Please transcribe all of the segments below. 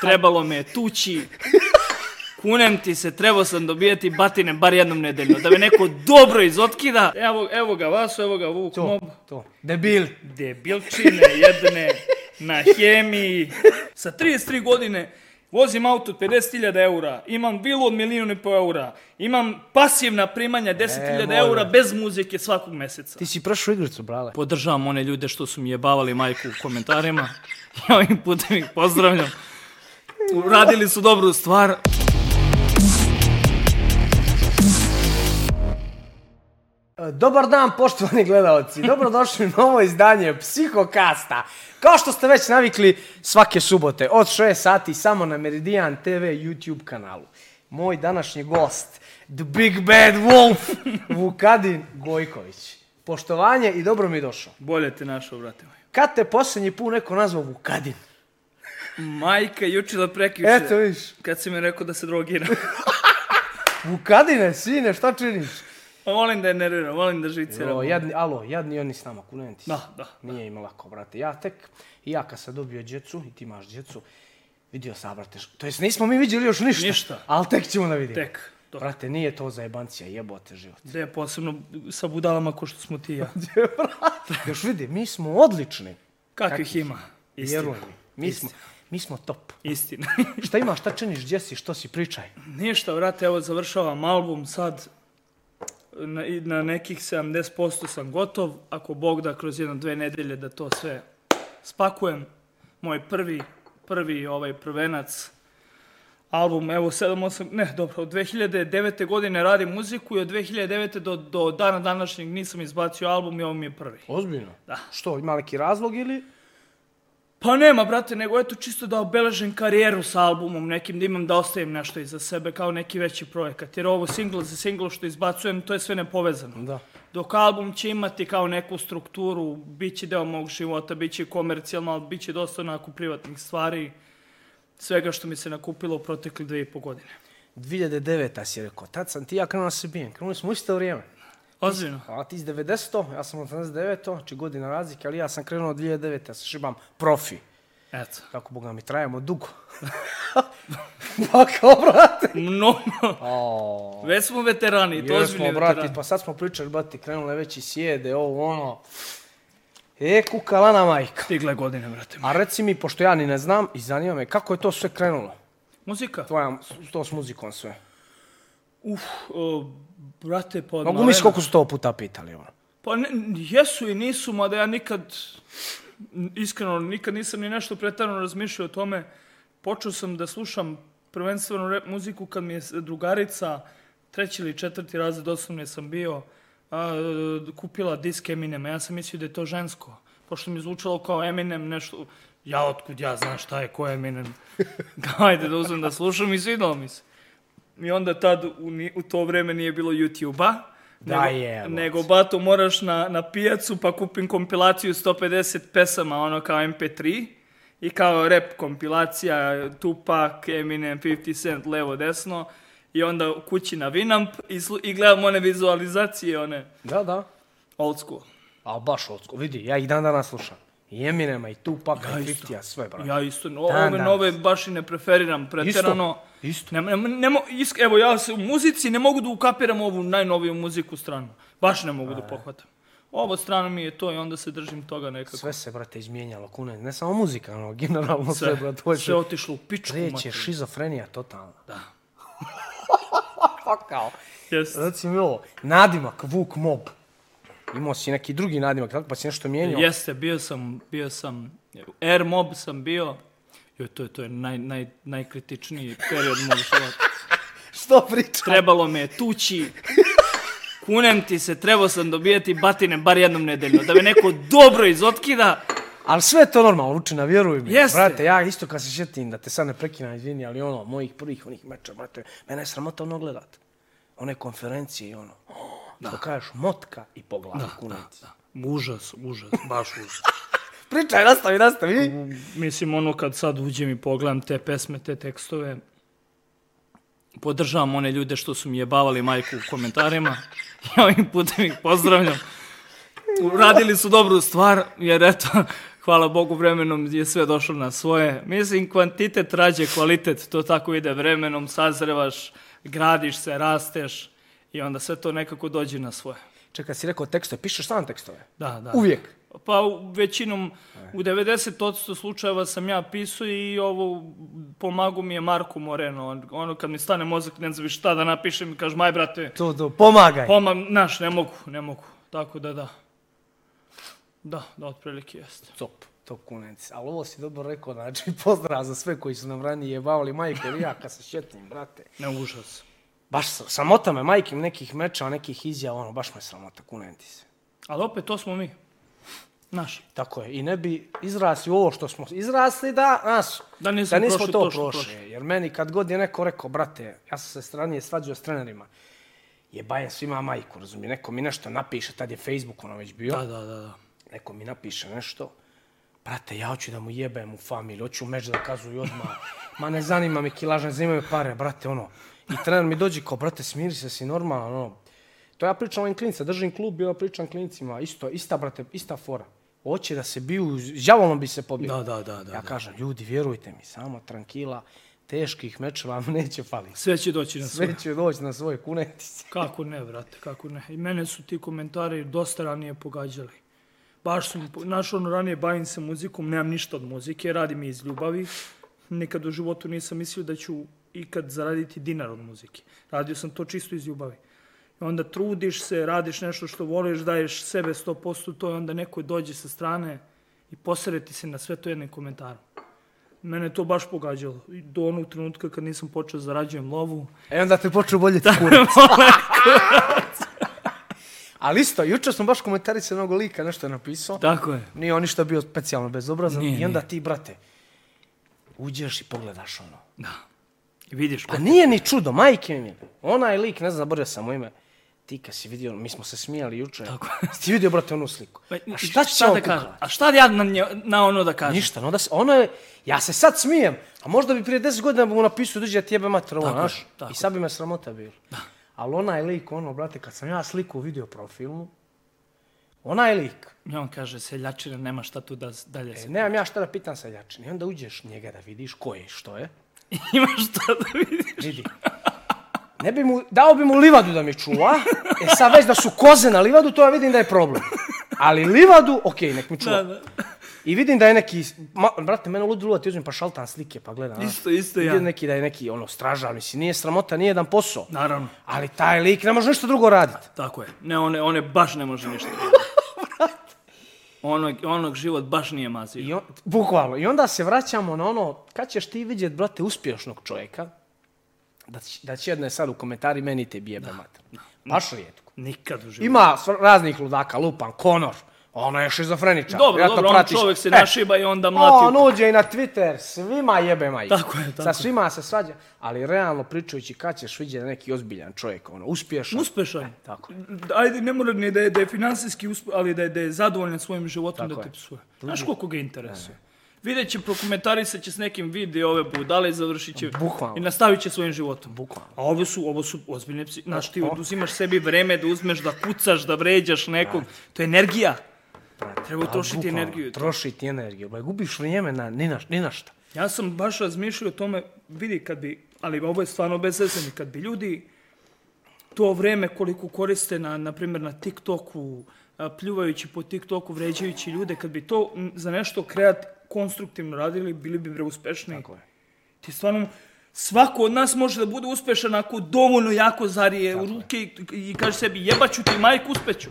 Trebalo me je tući. Kunem ti se, trebao sam dobijati batine bar jednom nedeljno, da me neko dobro izotkida. Evo, evo ga Vaso, evo ga Vuk To, Mob. to. Debil. Debilčine jedne na hemiji. Sa 33 godine vozim auto od 50.000 eura, imam vilu od milijun i pol eura, imam pasivna primanja 10.000 E, molim. eura bez muzike svakog meseca. Ti si prošao igricu, brale. Podržavam one ljude što su mi jebavali majku u komentarima. Ja ovim putem ih pozdravljam. Uradili su dobru stvar. E, Dobar dan, poštovani gledalci. Dobrodošli u novo izdanje Psihokasta. Kao što ste već navikli, svake subote od 6 sati samo na Meridian TV YouTube kanalu. Moj današnji gost, The Big Bad Wolf, Vukadin Gojković. Poštovanje i dobro mi došao. Bolje te našao, brate moj. Kad te posljednji put neko nazvao Vukadin? Majka, juče da prekjuče. Eto, vidiš. Kad si mi rekao da se drogira. Vukadine, sine, šta činiš? volim da je nerviram, volim da žiciram. O, jadni, alo, jadni oni s nama, kunem ti se. Da, da. Nije im lako, brate. Ja tek, i ja kad sam dobio djecu, i ti imaš djecu, vidio sam, brate, š- to jest nismo mi vidjeli još ništa. Ništa. Ali tek ćemo da vidimo. Tek. To. Brate, nije to za jebancija, jebote život. Gde posebno sa budalama ko što smo ti i ja. još vidi, mi smo odlični. Kakvih ima? Istina. Vjeruj mi. Mi smo, mi smo top. Istina. Šta imaš, šta činiš, gdje si, što si, pričaj. Ništa, vrate, evo završavam album sad. Na, i na nekih 70% sam gotov. Ako Bog da kroz jedno dve nedelje da to sve spakujem. Moj prvi, prvi ovaj prvenac album, evo 7, 8, ne, dobro, od 2009. godine radim muziku i od 2009. do, do dana današnjeg nisam izbacio album i ovo mi je prvi. Ozbiljno? Da. Što, ima neki razlog ili? Pa nema, brate, nego eto čisto da obeležem karijeru sa albumom nekim, da imam da ostavim nešto iza sebe kao neki veći projekat. Jer ovo single za single što izbacujem, to je sve nepovezano. Da. Dok album će imati kao neku strukturu, bit će deo mog života, bit će komercijalno, ali bit će dosta onako privatnih stvari, svega što mi se nakupilo u protekle dve i po godine. 2009. si rekao, tad sam ti i ja krenuo da se bijem. Krenuli smo u isto vrijeme. Ozbiljno. A ti iz 90. ja sam 89. znači godina razlike, ali ja sam krenuo od 2009. ja se šibam profi. Eto. Kako boga mi trajamo dugo. pa kao, brate. Mnogo. O, Već smo veterani, to jesmo, ozbiljni brati, veterani. pa sad smo pričali, brati, krenule već i sjede, ovo, ono. E, kukalana majka. Stigle godine, brate. A reci mi, pošto ja ni ne znam i zanima me, kako je to sve krenulo? Muzika? Tvoja, to s muzikom sve. Uf, o, brate, pa... od Mogu malena- misli koliko su to puta pitali, ono. Pa ne, jesu i nisu, mada ja nikad, n- iskreno, nikad nisam ni nešto pretarano razmišljao o tome. Počeo sam da slušam prvenstveno rap muziku kad mi je s- drugarica, treći ili četvrti razred osnovne sam bio, a, e, kupila disk Eminema. Ja sam mislio da je to žensko, pošto mi je zvučalo kao Eminem nešto. Ja otkud ja znam šta je, ko je Eminem. Ajde da uzmem da slušam i svidalo mi se. I onda tad u, ni- u to vreme nije bilo YouTube-a. Da, nego- jebote. Nego, bato, moraš na, na pijacu pa kupim kompilaciju 150 pesama, ono kao MP3. I kao rap kompilacija, Tupac, Eminem, 50 Cent, levo, desno. I onda kući na Winamp i, slu- i gledam one vizualizacije, one Da, da. old school. A baš odsko, vidi, ja ih dan danas slušam. I Eminema, i Tupaka, i 50-a, sve, brate. Ja isto, no, Dan ove danas. nove baš i ne preferiram preterano. isto. Ne, ne, ne, mo- isk- evo ja se u muzici ne mogu da ukapiram ovu najnoviju muziku stranu. Baš ne mogu da pohvatam. Ovo strano mi je to i onda se držim toga nekako. Sve se, brate, izmijenjalo, kune. Ne samo muzika, ono, generalno sve, brate. Ovo je sve otišlo u pičku. riječ je materinu. šizofrenija totalna. Da. pa kao. Jeste. Reci mi ovo, nadimak, Vuk Mob. Imao si neki drugi nadimak, tako pa si nešto mijenjao? Jeste, bio sam, bio sam, Air Mob sam bio. Joj, to je, to je naj, naj, najkritičniji period mog života. Što priča? trebalo me je tući. Kunem ti se, trebao sam dobijati batine bar jednom nedeljno, da me neko dobro izotkida. Ali sve je to normalno, Lučina, vjeruj mi. Jeste. Brate, ja isto kad se sjetim, da te sad ne prekina, izvini, ali ono, mojih prvih onih meča, brate, mene je sramota ono gledat. One konferencije i ono, da. što kažeš, motka i po glavi, kunem ti. Užas, užas, baš užas. Pričaj, nastavi, nastavi. Mislim, ono kad sad uđem i pogledam te pesme, te tekstove, podržavam one ljude što su mi jebavali majku u komentarima. Ja ovim putem ih pozdravljam. Uradili su dobru stvar, jer eto, hvala Bogu vremenom je sve došlo na svoje. Mislim, kvantitet rađe kvalitet, to tako ide vremenom, sazrevaš, gradiš se, rasteš i onda sve to nekako dođe na svoje. Čekaj, si rekao tekstove, pišeš sam tekstove? Da, da. Uvijek. Pa u većinom, u 90% slučajeva sam ja pisao i ovo pomagao mi je Marko Moreno. On- Ono kad mi stane mozak, ne znam šta da napišem i kažem, aj brate, To, to, pomagaj. pomag, naš, ne mogu, ne mogu. Tako da da. Da, da, otprilike jeste. Top, top kunec. Ali ovo si dobro rekao, znači pozdrav za sve koji su nam ranije jebavali majke ili ja kad se šetim, brate. Ne užas. Baš sa- sramota me majkim nekih meča, nekih izjava, ono, baš me sramota, kunem ti se. Ali opet, to smo mi. Naš. Tako je, i ne bi izrasli u ovo što smo izrasli da nas, Da nismo da nismo prošli to, to što prošli. Jer meni kad god je neko rekao, brate, ja sam se stranije svađao s trenerima, jebajem svima majku, razumije, neko mi nešto napiše, tad je Facebook ono već bio, Da, da, da, da. neko mi napiše nešto, brate, ja hoću da mu jebem u familiju, hoću meč da kazuju odmah, ma ne zanima me kilaž, ne zanima me pare, brate, ono. I trener mi dođe kao, brate, smiri se, si normalan, ono. To ja pričam ovim klinicima, držim klub i ja pričam klinicima, isto, ista, brate, ista fora. Hoće da se biju, djavolom bi se pobio. Da, da, da, da, Ja da. kažem, ljudi, vjerujte mi, samo trankila, teških mečeva vam neće faliti. Sve će doći na sve. Sve će doći na svoje kunetice. Kako ne, brate, kako ne. I mene su ti komentari dosta ranije pogađali. Baš sam, znaš, ono, ranije bavim se muzikom, nemam ništa od muzike, radim je iz ljubavi. Nikad u životu nisam mislio da ću ikad zaraditi dinar od muzike. Radio sam to čisto iz ljubavi. I onda trudiš se, radiš nešto što voliš, daješ sebe 100%, to je onda neko dođe sa strane i posreti se na sve to jednim komentarom. Mene je to baš pogađalo. I Do onog trenutka kad nisam počeo da zarađujem lovu, E onda te počeo boljeti kurac. Ali isto, jučer smo baš komentarisali jednog lika, nešto je napisao. tako je. Nije on ništa bio specijalno bezobrazan. Nije, I onda ti, brate, uđeš i pogledaš ono. Da. I vidiš Pa kako... nije ni čudo, majke mi. mile. Onaj lik, ne znam, zaboravio sam mu ime. Ti kad si vidio, mi smo se smijali juče. Tako. Si vidio, brate, onu sliku. Pa, A šta će on da kukavat? kažem? A šta ja na, nje, na ono da kažem? Ništa, no da se, ono je, ja se sad smijem, a možda bi prije 10 godina bi mu napisao dođe da ti jebe mater ovo, Tako je, znaš, tako i sad bi me sramota bilo. Ali onaj lik, ono, brate, kad sam ja sliku vidio profilnu, onaj lik, I on kaže, seljačina, nema šta tu da s- dalje se... E, nemam ja šta da pitam seljačin. I onda uđeš njega da vidiš ko je i što je. Ima šta da vidiš. Vidi. Ne bi mu, dao bi mu livadu da mi čuva. E sad već da su koze na livadu, to ja vidim da je problem. Ali livadu, okej, nek mi Da, čuva. da. I vidim da je neki, ma, brate, mene ludi luda, ti uzmem pa šaltan slike, pa gledam. znaš. Isto, isto ja. Vidim neki da je neki, ono, stražar, mislim, nije sramota, nije jedan posao. Naravno. Ali taj lik ne može ništa drugo raditi. Tako je. Ne, one, one baš ne može ništa. onog, onog život baš nije mazio. I on, bukvalno. I onda se vraćamo na ono, kad ćeš ti vidjet, brate, uspješnog čovjeka, da, će- da će jedne sad u komentari meni te bijebe mater. Baš rijetko. Nikad u životu. Ima sv- raznih ludaka, lupan, Konor, ono je šizofreničan. Dobro, vjerojatno dobro, on pratiš- čovjek se E, ono- našiba i onda mlati. On uđe i na Twitter, svima jebe majke. Tako je, tako Sa je. svima se svađa, ali realno pričajući kad ćeš vidjeti neki ozbiljan čovjek, ono, uspješan. Uspešan. tako. Ajde, ne mora ni da je, da je finansijski uspe, ali da je, da je zadovoljan svojim životom Tako da te je. psuje. Znaš koliko ga interesuje? Vidjet će, prokomentarisat će s nekim video ove budale i završit će Bukvalno. i nastavit će svojim životom. Bukvalno. A ovo su, ovo su ozbiljne psi. Znaš, ti oduzimaš sebi vreme da uzmeš, da kucaš, da vređaš nekog. To je energija. Brate, Treba a trošiti bukvalno, energiju. Trošiti energiju. Ba, gubiš vrijeme na, ni na, ni na šta. Ja sam baš razmišljao o tome, vidi kad bi, ali ovo je stvarno bez veze, kad bi ljudi to vreme koliko koriste na, na primjer, na TikToku, a, pljuvajući po TikToku, vređajući ljude, kad bi to m, za nešto kreat konstruktivno radili, bili bi bre uspešni. Tako je. Ti stvarno, svako od nas može da bude uspešan ako dovoljno jako zarije u ruke i, i kaže sebi jebaću ti majku, uspeću.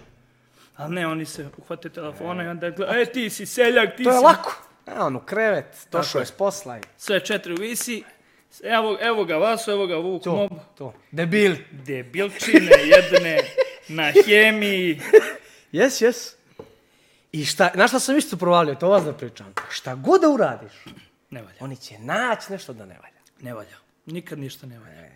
Ali ne, oni se uhvate telefona i onda gleda, e ti si seljak, ti To je si lako. Ja, ono, krevet, došao je. je s posla i sve četiri u visi. Evo, evo ga vas, evo ga Vuk to, Mob. to. Debil. Debilčine jedne na hemiji. Jes, jes. I šta, na šta sam isto provalio, to vas da pričam. Šta god da uradiš, Ne valja, oni će naći nešto da ne valja. ne valja. Nikad ništa ne valja.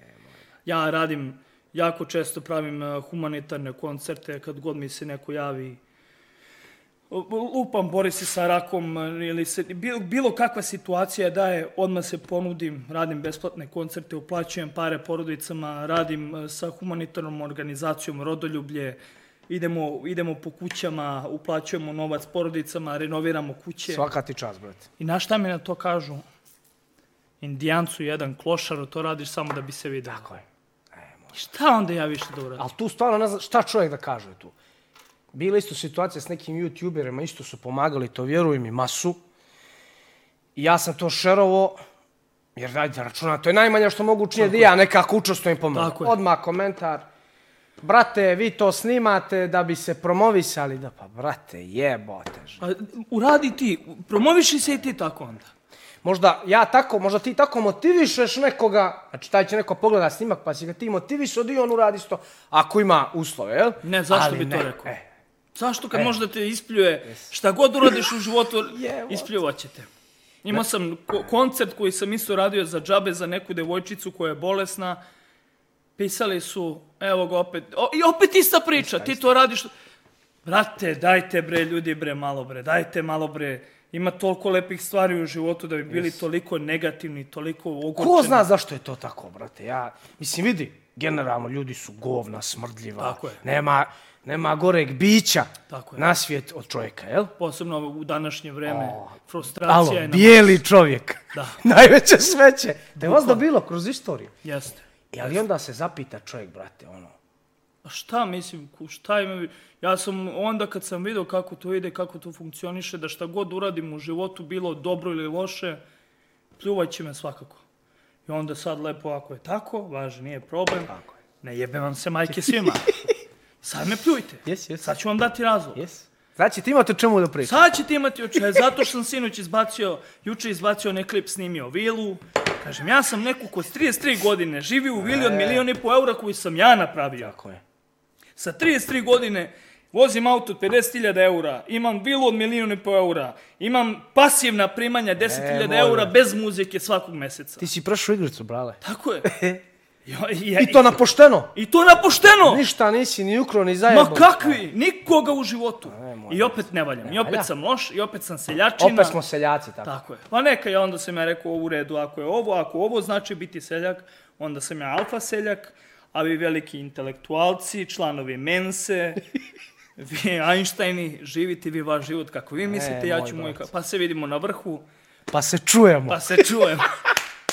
Ja radim, jako često pravim e, humanitarne koncerte kad god mi se neko javi. O- Lupam, bori se sa rakom e, ili se, bilo, bilo kakva situacija da je, odmah se ponudim, radim besplatne koncerte, uplaćujem pare porodicama, radim e, sa humanitarnom organizacijom Rodoljublje, idemo, idemo po kućama, uplaćujemo novac porodicama, renoviramo kuće. Svaka ti čast, brate. I na šta mi na to kažu? Indijancu jedan, klošaru, to radiš samo da bi se vidio. Tako je. E, I šta onda ja više da uradim? Ali tu stvarno ne znam šta čovjek da kaže tu. Bila isto situacija s nekim youtuberima, isto su pomagali, to vjeruj mi, masu. I ja sam to šerovo, jer dajte računa, to je najmanje što mogu učiniti da ja nekako učestvujem i pomogam. Tako je. Odmah komentar, brate, vi to snimate da bi se promovisali, da pa brate, jebote. ž- Pa, uradi ti, promoviši se i ti tako onda. Možda ja tako, možda ti tako motivišeš nekoga, znači taj će neko pogleda snimak pa si ga ti motivišao da i on uradi isto, ako ima uslove, jel? Ne, zašto Ali bi to ne, rekao? e. Zašto kad možda te ispljuje, šta god uradiš u životu, Jebote. ispljuvat će te. Imao sam ko- koncert koji sam isto radio za džabe, za neku devojčicu koja je bolesna. Pisali su, evo ga opet, o, i opet ista priča, ti to radiš. Brate, dajte bre ljudi bre malo bre, dajte malo bre. Ima toliko lepih stvari u životu da bi bili toliko negativni, toliko ogorčeni. Ko zna zašto je to tako, brate? Ja, mislim, vidi, generalno ljudi su govna, smrdljiva. Tako je. Nema, nema goreg bića Tako je. na svijet od čovjeka, jel? Posebno u današnje vreme, frustracija Alo, je na... bijeli čovjek. Da. Najveće smeće. Da je vas dobilo kroz istoriju. Jeste. E, ali onda se zapita čovjek, brate, ono, A šta mislim, ku- šta ima, ja sam onda kad sam vidio kako to ide, kako to funkcioniše, da šta god uradim u životu, bilo dobro ili loše, pljuvat će me svakako. I onda sad lepo, ako je tako, važno, nije problem, Tako je. ne jebe vam se majke svima. Sad me pljujte. Jes, jes. Sad ću vam dati razlog. Jes? Znači, ti imate o čemu da pričaš. Sad ćete imati oče, zato što sam sinoć izbacio, juče izbacio onaj klip, snimio vilu. Kažem, ja sam neko ko s 33 godine živi u E. vili od milijon i po eura koju sam ja napravio. Tako je. Sa 33 godine vozim auto od 50.000 eura, imam vilu od milijun i po eura, imam pasivna primanja 10.000 molim eura vas. bez muzike svakog meseca. Ti si prošao igricu, brale. Tako je. Jo, I to na pošteno. I to na pošteno! Ništa nisi ni ukro, ni zajebo. Ma kakvi? Nikoga u životu. molim I opet ne valjam. I valja. opet sam loš, i opet sam seljačina. Opet smo seljaci, tako. Tako je. Pa neka je, onda sam ja rekao u redu, ako je ovo, ako ovo znači biti seljak, onda sam ja alfa seljak, a vi veliki intelektualci, članovi mense, vi Einsteini, živite vi vaš život kako vi mislite, ja moj ću moj... brat. ka- Pa se vidimo na vrhu, Pa se čujemo. pa se čujemo.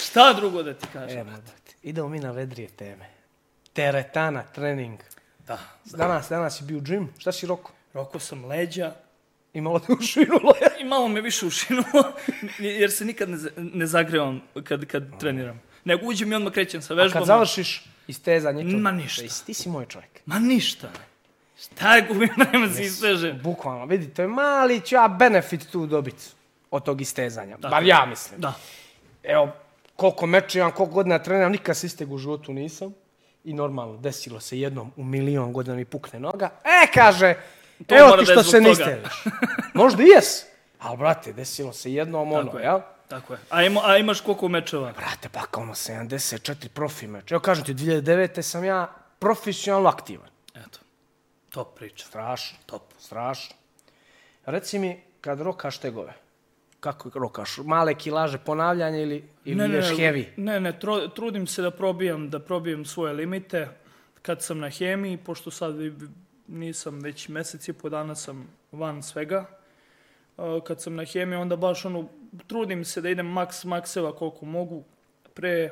Šta drugo da ti kažem? Evo, brate, idemo mi na vedrije teme. Teretana, trening. Da. Danas, danas si bio u džimu, šta si roko? Roko sam leđa I malo te ušinulo. i malo me više ušinulo, jer se nikad ne, za- ne zagrevam kad, kad treniram. Nego uđem i odmah krećem sa A vežbama. kad završiš istezanje, to... Ma ništa. Ej, Ti si moj čovjek. Ma ništa. Šta je gubim vreme se istežem? Bukvalno, vidi, to je mali ću ja benefit tu dobit od tog istezanja. Tako Bar je. ja mislim. Da. Evo, koliko meča imam, koliko godina treniram, nikad se isteg u životu nisam. I normalno, desilo se jednom u milion godina mi pukne noga. E, kaže, To evo mora ti da je što zbog se toga. nistežeš. Možda i jes. Ali, brate, desilo se jednom ono, Tako je. jel? Tako je. A, ima, a imaš koliko mečeva? Brate, pa kao ono 74 profi meč. Evo kažem ti, 2009. sam ja profesionalno aktivan. Eto. Top priča. Strašno, Top. strašno. Reci mi, kad rokaš tegove, kako rokaš? Male kilaže, ponavljanje ili, ili ne, ideš heavy? Ne, ne, tro, trudim se da probijam, da probijam svoje limite. Kad sam na hemiji, pošto sad vi- nisam već mesec i po dana sam van svega, a, kad sam na hemiji, onda baš ono, trudim se da idem maks makseva koliko mogu. Pre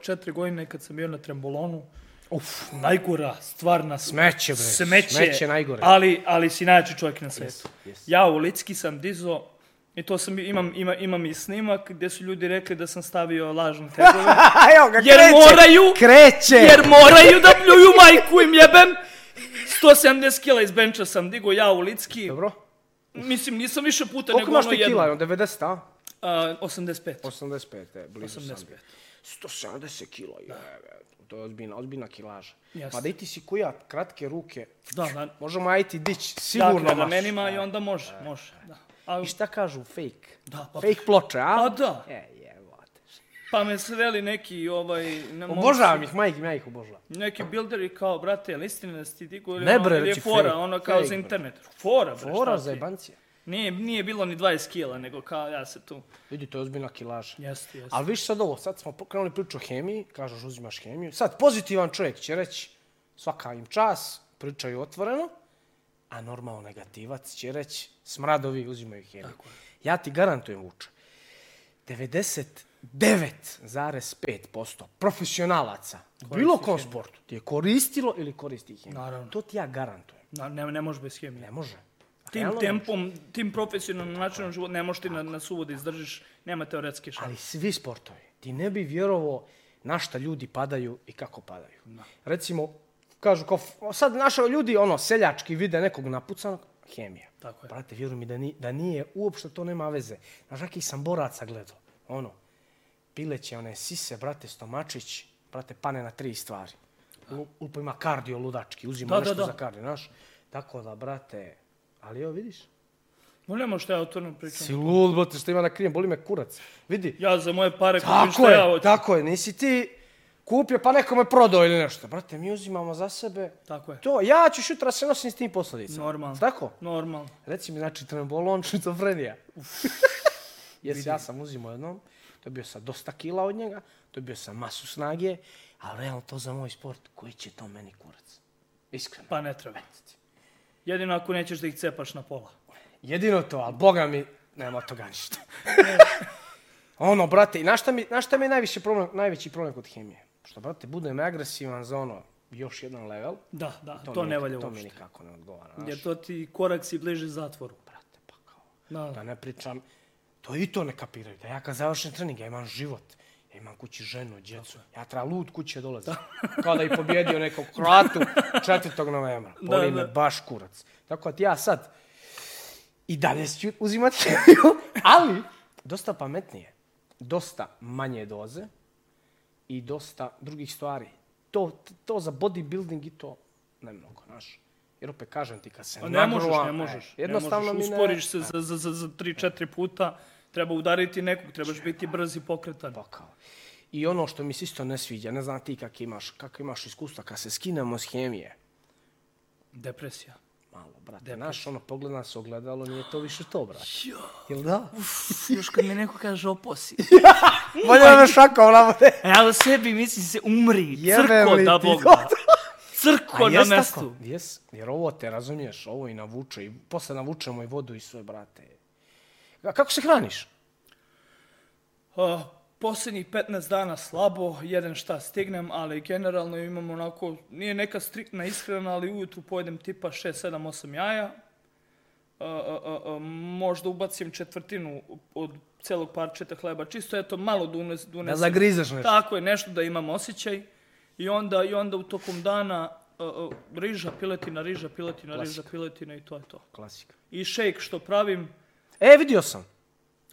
četiri godine kad sam bio na trembolonu, Uf, najgora stvar na smeću. smeće bre, smeće, najgore. Ali, ali si najjači čovjek na svijetu. yes. Ja u Litski sam dizo, i to sam, imam, ima, imam i snimak gdje su ljudi rekli da sam stavio lažne tegove. Evo ga, Jer moraju, kreće. jer moraju da pljuju majku im jebem. 170 kila iz benča sam digo ja u Litski. Dobro. Mislim, nisam više puta Koliko nego imaš ono ti jedno. kila? Ono, 90, a? A, 85. 85, e, blizu 85. 85. sam. bio. 170 kila, jebe. To je ozbiljna, ozbiljna kilaža. Jeste. Ma da i ti si koja, kratke ruke, Da, da. možemo ja i ti dići, Sigurno sigurno maš. ramenima i onda može, može. Da. A, I šta kažu, fake? da, pa, Fake ploče, a? pa da. E, jebote. Pa me sveli neki ovaj... ne mogu Obožavam ih, majke, ja ih obožavam. neki bilderi kao, brate, je li istina da si ti digo ili, Ne, ono, bre, ili je reci, fora, fake, ono kao fake, za bre. internet. Fora, bre, Fora šta za ti? jebancije. Nije, nije bilo ni 20 kila, nego kao ja se tu... Vidi, to je ozbiljna kilaža. Jeste, jeste. Ali viš sad ovo, sad smo pokrenuli priču o hemiji, kažeš uzimaš hemiju. Sad, pozitivan čovjek će reći, svaka im čas, pričaju otvoreno, a normalno negativac će reći smradovi uzimaju hemiju. Ja ti garantujem Vuče, 99,5% profesionalaca u bilo kom sportu ti je koristilo ili koristi hemiju. Naravno. To ti ja garantujem. Na, ne, ne može bez hemije. Ne može. Tim Realno ne može. tempom, tim profesionalnim načinom života ne možeš ti na, na suvo da izdržiš, nema teoretske šanse. Ali svi sportovi. Ti ne bi vjerovao na šta ljudi padaju i kako padaju. Recimo, kažu kao, f- sad naša ljudi, ono, seljački vide nekog napucanog, hemija. Tako je. Brate, vjeruj mi da, ni, da nije, uopšte to nema veze. Znaš, kakvi sam boraca gledao, ono, pileće one sise, brate, stomačić, brate, pane na tri stvari. Lu- Lupa ima kardio ludački, uzima Da, nešto da, da. za kardio, znaš. Tako da, brate, ali evo vidiš. No nema šta ja o tome pričam. Si lud, brate, što ima na krijem, boli me kurac. Vidi, Ja za moje pare kupim Tako šta je, ja hoću. tako je, nisi ti kupio pa nekome prodao ili nešto. Brate, mi uzimamo za sebe. Tako je. To, ja ću šutra se nosim s tim posledicama. Normalno. Tako? Normalno. Reci mi, znači, trembolon, šizofrenija. Jesi, ja sam uzimao jednom, dobio sam dosta kila od njega, dobio sam masu snage, ali realno to za moj sport, koji će to meni kurac? Iskreno. Pa ne treba. Jedino ako nećeš da ih cepaš na pola. Jedino to, ali boga mi, nema od toga ništa. ono, brate, i na šta mi, na šta mi je najviše problem, najveći problem kod hemije? Što, brate, budem agresivan za ono, još jedan level, Da, da, to, mi- ne valja To mi uopšte. nikako ne odgovara, znaš, Jer to ti korak si bliže zatvoru. brate, pa kao, Da, da da. ne pričam, to i to ne kapiraju, da ja kad završim trening, ja imam život, ja imam kući ženu, djecu, ja treba lud kuće dolazim, kao da i pobjedio nekog Kroatu 4. novembra, Da, boli me da. baš kurac. Tako da ti ja sad, i dalje ću uzimati hemiju, ali dosta pametnije, dosta manje doze i dosta drugih stvari. To, to za bodybuilding i to ne mnogo, znaš. Jer opet kažem ti, kad se Pa ne možeš, nagrla, ne e, možeš. jednostavno ne možeš. mi Usporiš ne... se za, za, za, za 3-4 puta, treba udariti nekog, trebaš biti brz i pokretan. Pakao. I ono što mi se isto ne sviđa, ne znam ti kak imaš, kak imaš iskustva, kad se skinemo s hemije, Depresija. malo, brate, naš ono, pogledam se ogledalo, nije to više to, brate. Jel da? Još kad mi neko kaže oposi. Bolje me šakao, brate. A ja o sebi mislim se umri, Jebem crko li da ti Bog to? da. Crko na jes tako, mestu. Jes, jer ovo te razumiješ, ovo i navuče, i posle navučemo i vodu i sve, brate. A kako se hraniš? Uh, posljednjih 15 dana slabo, jedan šta stignem, ali generalno imam onako, nije neka striktna ishrana, ali ujutru pojedem tipa 6, 7, 8 jaja. Uh, uh, uh, uh, možda ubacim četvrtinu od celog parčeta hleba, čisto eto malo da unes, da Da unesem. zagrizeš nešto? Tako je, nešto da imam osjećaj. I onda, i onda u tokom dana uh, uh, riža, piletina, riža, piletina, riža, piletina i to je to. Klasika. I šejk što pravim, E, vidio sam.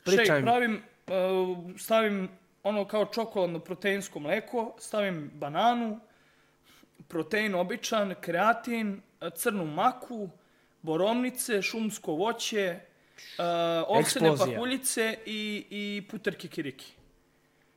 Pričaj Shake mi. pravim, uh, stavim ono kao čokoladno proteinsko mleko, stavim bananu, protein običan, kreatin, eh, crnu maku, borovnice, šumsko voće, uh, ovsene Eksplozija. pahuljice i, i puter kikiriki.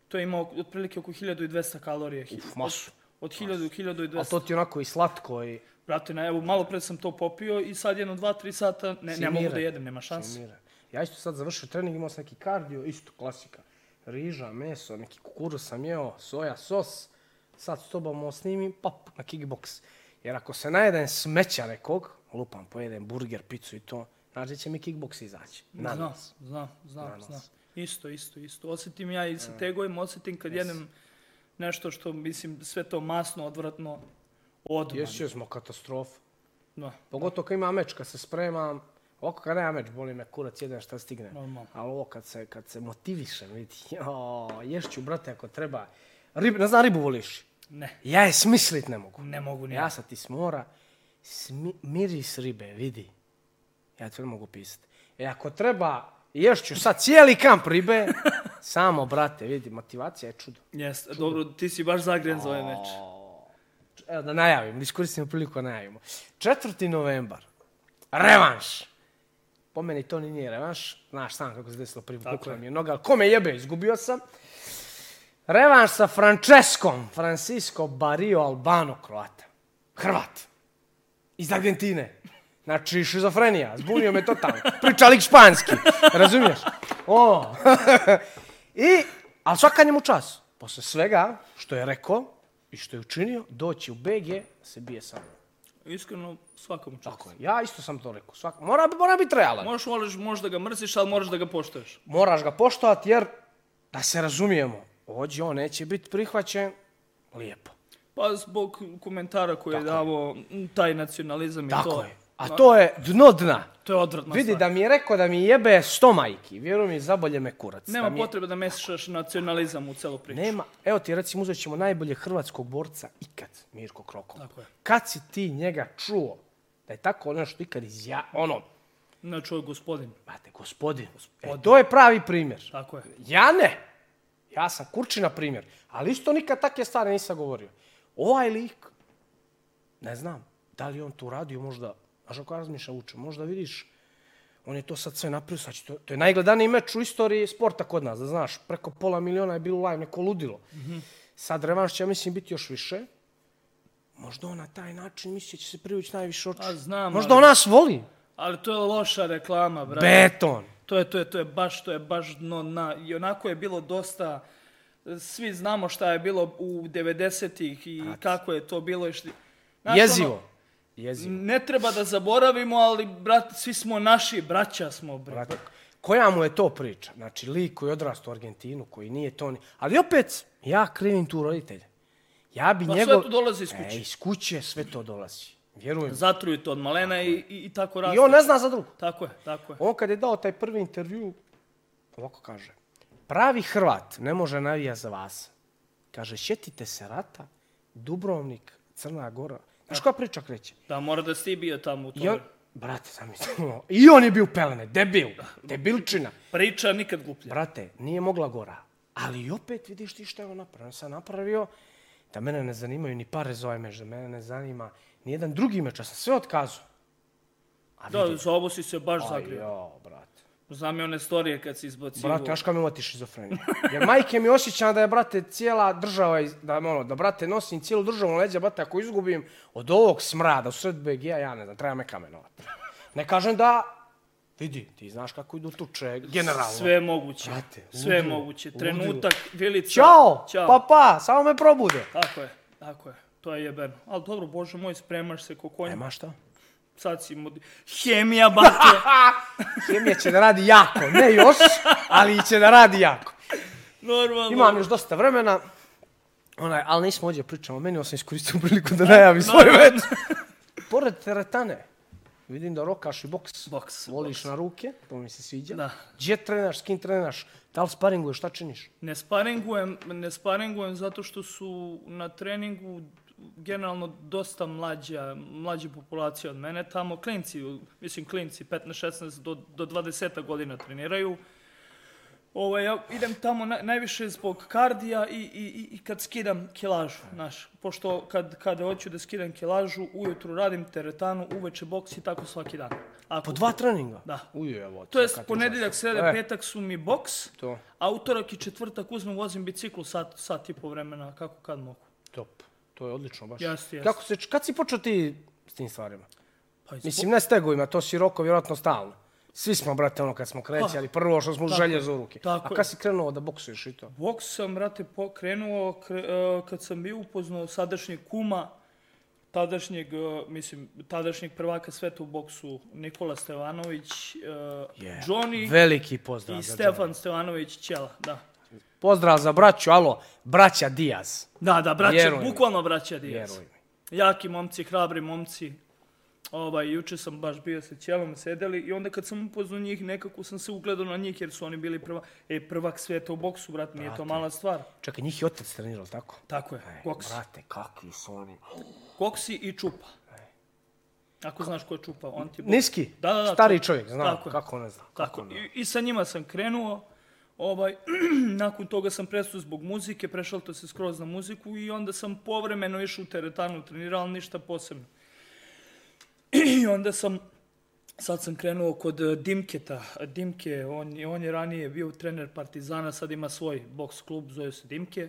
To ima ok- otprilike oko 1200 kalorije. Uf, masu. Od 1000 do A 1200. to ti je onako i slatko i... Brate, na, evo, malo pre sam to popio i sad jedno 2-3 sata ne, ne mogu da Simira. jedem, nema šanse. Mira. Ja isto sad završio trening, imao sam neki kardio, isto klasika. Riža, meso, neki kukuruz sam jeo, soja, sos. Sad s tobom ovo snimim, pop, na kickbox. Jer ako se najedem smeća nekog, lupam, pojedem burger, picu i to, znači da će mi kickbox izaći. Na Znam, nas. znam, znam, nas. E. znam. Isto, isto, isto. Osjetim ja i sa tegovima, osjetim kad jedem nešto što, mislim, sve to masno, odvratno, odmah. Još još smo katastrofa. Da. Pogotovo kad ima meč, kad se spremam, ovako kad nema meč, boli me kurac, jedan šta stigne. Normalno. Ali ovo kad se, kad se motivišem, vidi, jo, ješću, brate, ako treba. Rib, ne znam, ribu voliš? Ne, Ja je smislit ne mogu. ne mogu ni ja. Ja sam ti s mora, smi, miris ribe, vidi. Ja to ne mogu pisati. E ako treba, ješću sad cijeli kamp ribe, samo, brate, vidi, motivacija je čudo. Jes, dobro, ti si baš zagren za ovaj meč. Evo da najavim, iskoristimo priliku da najavimo. 4. novembar, revanš. Po meni to ni nije revanš, znaš sam kako se desilo prvi Tako put je. mi je noga, ali kome jebe, izgubio sam. Revanš sa Franceskom, Francisco Barrio Albano Kroata. Hrvat. Iz Argentine. Znači, šizofrenija, zbunio me totalno. Priča lik španski, razumiješ? O. I, ali svaka njemu čas. Posle svega što je rekao i što je učinio, doći u BG, se bije sa mnom. Iskreno, svakom čast. Tako je. Ja isto sam to rekao. Svak, mora, mora biti realan. Možeš, voliš, možeš da ga mrziš, ali moraš da ga poštoješ. Moraš ga poštovati jer, da se razumijemo, ođe on neće biti prihvaćen lijepo. Pa zbog komentara koje je davao m, taj nacionalizam i Tako to. je. A to je dno dna. To je odvratna Vidi stvar. da mi je rekao da mi jebe sto majki. Vjeruj mi, zabolje me kurac. Nema da mi je- potrebe da mešaš nacionalizam u celu priču. Nema. Evo ti recimo uzet ćemo najbolje hrvatskog borca ikad, Mirko Krokop. Tako je. Kad si ti njega čuo da je tako nešto ikad izja... Ono, Znači, ovo je gospodin. brate, gospodin. E, to je pravi primjer. Tako je. Ja ne. Ja sam kurči na primjer. Ali isto nikad takve stvari nisam govorio. Ovaj lik, ne znam, da li je on to uradio možda, znaš ako ja razmišljam uče, možda vidiš, on je to sad sve napravio, sad će to, to je najgledaniji meč u istoriji sporta kod nas, da znaš, preko pola miliona je bilo live, neko ludilo. Mhm. Sad revanš će, ja mislim, biti još više. Možda on na taj način misli da će se privući najviše oči. A Pa znam, Možda on ali- nas voli. Ali to je loša reklama, brate. Beton. To je, to je, to je baš, to je baš dno na... I onako je bilo dosta... Svi znamo šta je bilo u 90-ih i kako je to bilo i šti... Znaš, ono, Jezivo. Jezivo. ne treba da zaboravimo, ali brat, svi smo naši, braća smo, bre. Brate, koja mu je to priča? Znači, lik koji je odrastao u Argentinu, koji nije to... Ni... Ali opet, ja krivim tu roditelje. Ja bi Pa sve njegov... to dolazi iz kuće. E, iz kuće sve to dolazi. Vjerujem. Zatruju to od malena i, i, i tako raste. I on ne zna za drugo. Tako je, tako je. On kad je dao taj prvi intervju, ovako kaže, pravi Hrvat ne može navija za vas. Kaže, sjetite se rata, Dubrovnik, Crna Gora. Znaš koja priča kreće? Da, mora da si ti bio tamo u tome. I on, brate, zamislimo, i on je bio u pelene, debil, debilčina. Priča nikad gluplja. Brate, nije mogla gora. Ali i opet vidiš ti šta je on napravio. On sam napravio da mene ne zanimaju ni pare za ovaj meč, da mene ne zanima ni jedan drugi meč. Ja sam sve otkazao. A Da, za ovo si se baš vidi, zagrio. jo, brate. Znam je one storije kad si izbacio. Brate, znaš kao mi uvati šizofrenija. Jer majke mi osjećam da je, brate, cijela država, iz- da, ono, da, brate, nosim cijelu državu na leđa, brate, ako izgubim od ovog smrada u sred BG-a, ja ne znam, treba me kamenovati. Ne kažem da, vidi, ti znaš kako idu tuče, generalno. Sve je moguće. Brate, Sve je ludilo, moguće. ludilo. Trenutak, vilica. Ćao, Pa- Ćao. papa, samo me probude. Tako je, tako je. To je jebeno. Ali dobro, bože moj, spremaš se ko konj. Nema šta. Sad si modi... Hemija, bate! Hemija će da radi jako, ne još, ali će da radi jako. Normalno. Imam još dosta vremena, onaj, ali nismo ovdje pričamo, meni on sam iskoristio priliku da najavim svoj već. Pored teretane, vidim da rokaš i boks. Boks, Voliš na ruke, to mi se sviđa. Da. Gdje trenaš, s kim trenaš, da li sparinguješ, šta činiš? Ne sparingujem, ne sparingujem zato što su na treningu generalno dosta mlađa, mlađa populacija od mene tamo. Klinci, mislim klinci 15-16 do, do 20 godina treniraju. Ovo, ja idem tamo na, najviše zbog kardija i, i, i- i kad skidam kilažu, znaš. Pošto kad, kada hoću da skidam kilažu, ujutru radim teretanu, uveče boks i tako svaki dan. Ako, Po dva treninga? Da. Ujo, evo. to jest ponedjeljak, sreda, E. petak su mi boks, To, a utorak i četvrtak uzmem, vozim biciklu sat, sat i po vremena, kako kad mogu. top. To je odlično baš. Jeste, jeste. Kako se, kad si počeo ti s tim stvarima? Pa iz- Mislim, ne s tegovima, to si roko vjerojatno stalno. Svi smo, brate, ono kad smo krećali, prvo što smo željezo u ruke. Pa, Tako A je. kad si krenuo da boksuješ i to? Boks sam, brate, pokrenuo kre, e, kad sam bio upoznao sadašnjeg kuma, tadašnjeg, e, mislim, tadašnjeg prvaka sveta u boksu Nikola Stevanović, e, Johnny Veliki pozdrav. i za Stefan Stevanović Ćela, da. Johnny. Pozdrav za braću, alo, braća Diaz. Da, da, braće, Vjeruj mi. bukvalno braća Diaz. Vjeruj mi. Jaki momci, hrabri momci. Ovaj, juče sam baš bio sa Ćelom, sedeli i onda kad sam upoznao njih, nekako sam se ugledao na njih jer su oni bili prva, e, prvak sveta u boksu, brat, nije to mala stvar. Čekaj, njih je otac trenirao, tako? Tako je, E, koks. Brate, kakvi su oni. Koksi i čupa. Ako znaš ko je čupa, on ti... Niski, Da, da, da, stari to- čovjek, znam, tako je. kako ne znam. Kako Tako, ne. i, i sa njima sam krenuo, ovaj, nakon toga sam prestao zbog muzike, prešao to se skroz na muziku i onda sam povremeno išao u teretanu, trenirao, ali ništa posebno. I onda sam, sad sam krenuo kod eh, Dimketa, Dimke, on, je- on je ranije bio trener Partizana, sad ima svoj boks klub, zove se Dimke,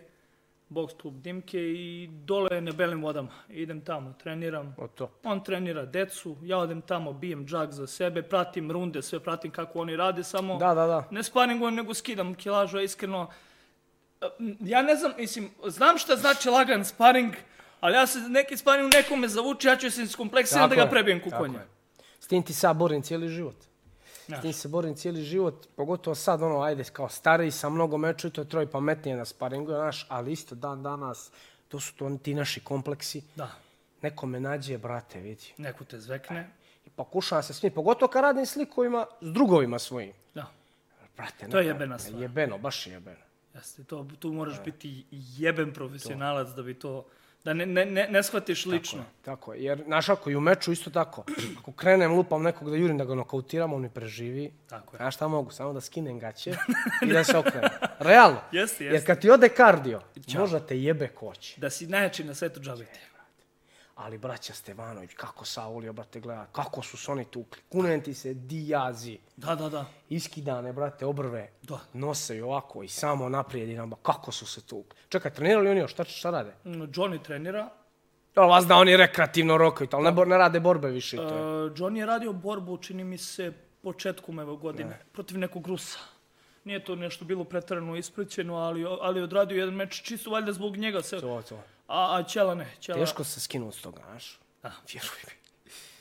boks klub Dimke i dole na Belim vodama, idem tamo, treniram. O to. On trenira decu, ja odem tamo, bijem džak za sebe, pratim runde, sve pratim kako oni rade, samo Da, da, da. ne sparingujem, nego skidam eh, kilažu, a iskreno, e, m, ja ne znam, mislim, znam šta znači lagan sparing, Ali ja se neki stvari u nekome zavuče, ja ću se iskompleksiram da Tako ga je, prebijem tako kukonja. je. S tim ti sad borim cijeli život. S Znaš. tim se borim cijeli život, pogotovo sad, ono, ajde, kao stariji sam, mnogo me čuje, to je troj pametnije na sparingu, znaš, ali isto dan danas, to su to oni ti naši kompleksi. Da, Neko me nađe, brate, vidi. neko te zvekne. I pokušavam se smi, pogotovo kad radim s likovima, s drugovima svojim. Da, Brate, To je neka- jebena stvar. Jebeno, baš je jebeno. jeste, to, tu moraš biti jeben profesionalac da bi to, da ne, ne, ne, ne shvatiš lično. Tako je, jer znaš ako i u meču isto tako, ako krenem lupam nekog da jurim da ga nokautiram, on mi preživi. Tako je. Znaš šta mogu, samo da skinem gaće i da se okrenem. Realno. Jeste, Jer jeste. kad ti ode kardio, možda te jebe koći. Da si najjači na svetu džabiti. Ali braća Stevanović, kako Saulio, brate, gleda, kako su se oni tukli. Kunem ti se dijazi, Da, da, da. iskidane, brate, obrve, Da. nose i ovako i samo naprijed i namba, kako su se tukli. Čekaj, trenirali oni još, šta, šta rade? Mm, Johnny trenira. Ja, vas da oni rekreativno rokaju, ali ne, bor- ne rade borbe više. i Uh, to je. Johnny je radio borbu, čini mi se, početkom ove godine, protiv nekog Rusa. Nije to nešto bilo pretarano ispraćeno, ali, ali je odradio jedan meč čisto valjda zbog njega. Se, To, to. a, a Ćela ne, Ćela. Teško se skinuti s toga, znaš? Da. Vjeruj mi.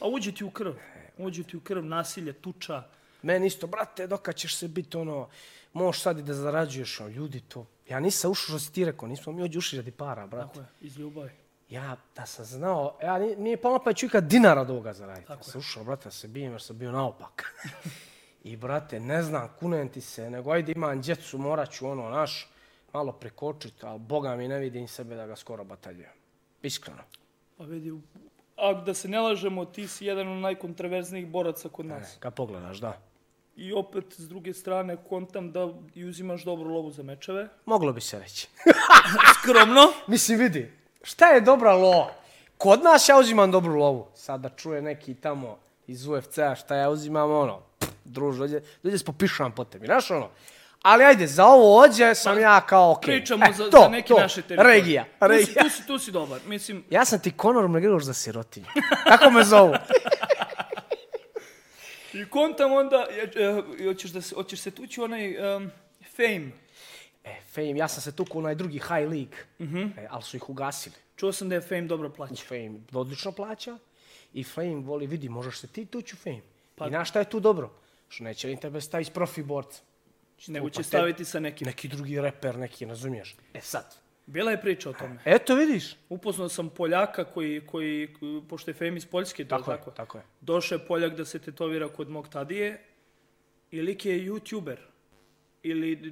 A uđe ti u krv. Uđe ti u krv, nasilje, tuča. Meni isto, brate, dokad ćeš se biti ono, možeš sad i da zarađuješ, ono, ljudi to. Ja nisam ušao što si ti rekao, nismo mi ovdje ušli radi para, brate. Tako je, iz ljubavi. Ja, da sam znao, ja, nije, nije pa pa ću ikad dinara od ovoga zaraditi. Ja sam ušao, brate, da se bijem jer sam bio naopak. I, brate, ne znam, kunem ti se, nego ajde imam djecu, morat ću ono, naš, malo prekočiti, ali boga mi ne vidim sebe da ga skoro bataljujem. Iskreno. Pa vidi, u- a da se ne lažemo, ti si jedan od najkontraverznijih boraca kod nas. Kad pogledaš, da. I opet, s druge strane, kontam da i uzimaš dobru lovu za mečeve. Moglo bi se reći. Skromno. Mislim, vidi, šta je dobra lova? Kod nas ja uzimam dobru lovu. Sad da čuje neki tamo iz UFC-a šta ja uzimam, ono, pff, druže, dođe, dođe se popišam po tebi, znaš ono? Ali ajde, za ovo ođe sam ja kao okej. Pričamo E, za, to, za neki to, naše teritorije. Regija, Tu si- regija. Tu si, tu si dobar. Mislim, Ja sam ti Conor McGregor za sirotinju. Tako me zovu. i kontam onda, je- e, hoćeš, da se, hoćeš se tući u onaj em, fame. E, Fame, ja sam se tukao u onaj drugi High League, Mhm. e, ali su ih ugasili. Čuo sam da je fame dobro plaća. Fame odlično plaća i Fame voli, vidi, možeš se ti tući u Fame. Pa- I znaš šta je tu dobro? Što neće ni tebe staviti s profi borca. Nego će te- staviti sa nekim. Neki drugi reper, neki, razumiješ? E sad, bila je priča o tome. Eto, vidiš. Upoznao sam Poljaka koji, koji pošto je Fame iz Poljske, to je Tako, tako. je, tako je. Došao je Poljak da se tetovira kod mog tadije i lik je youtuber. Ili d-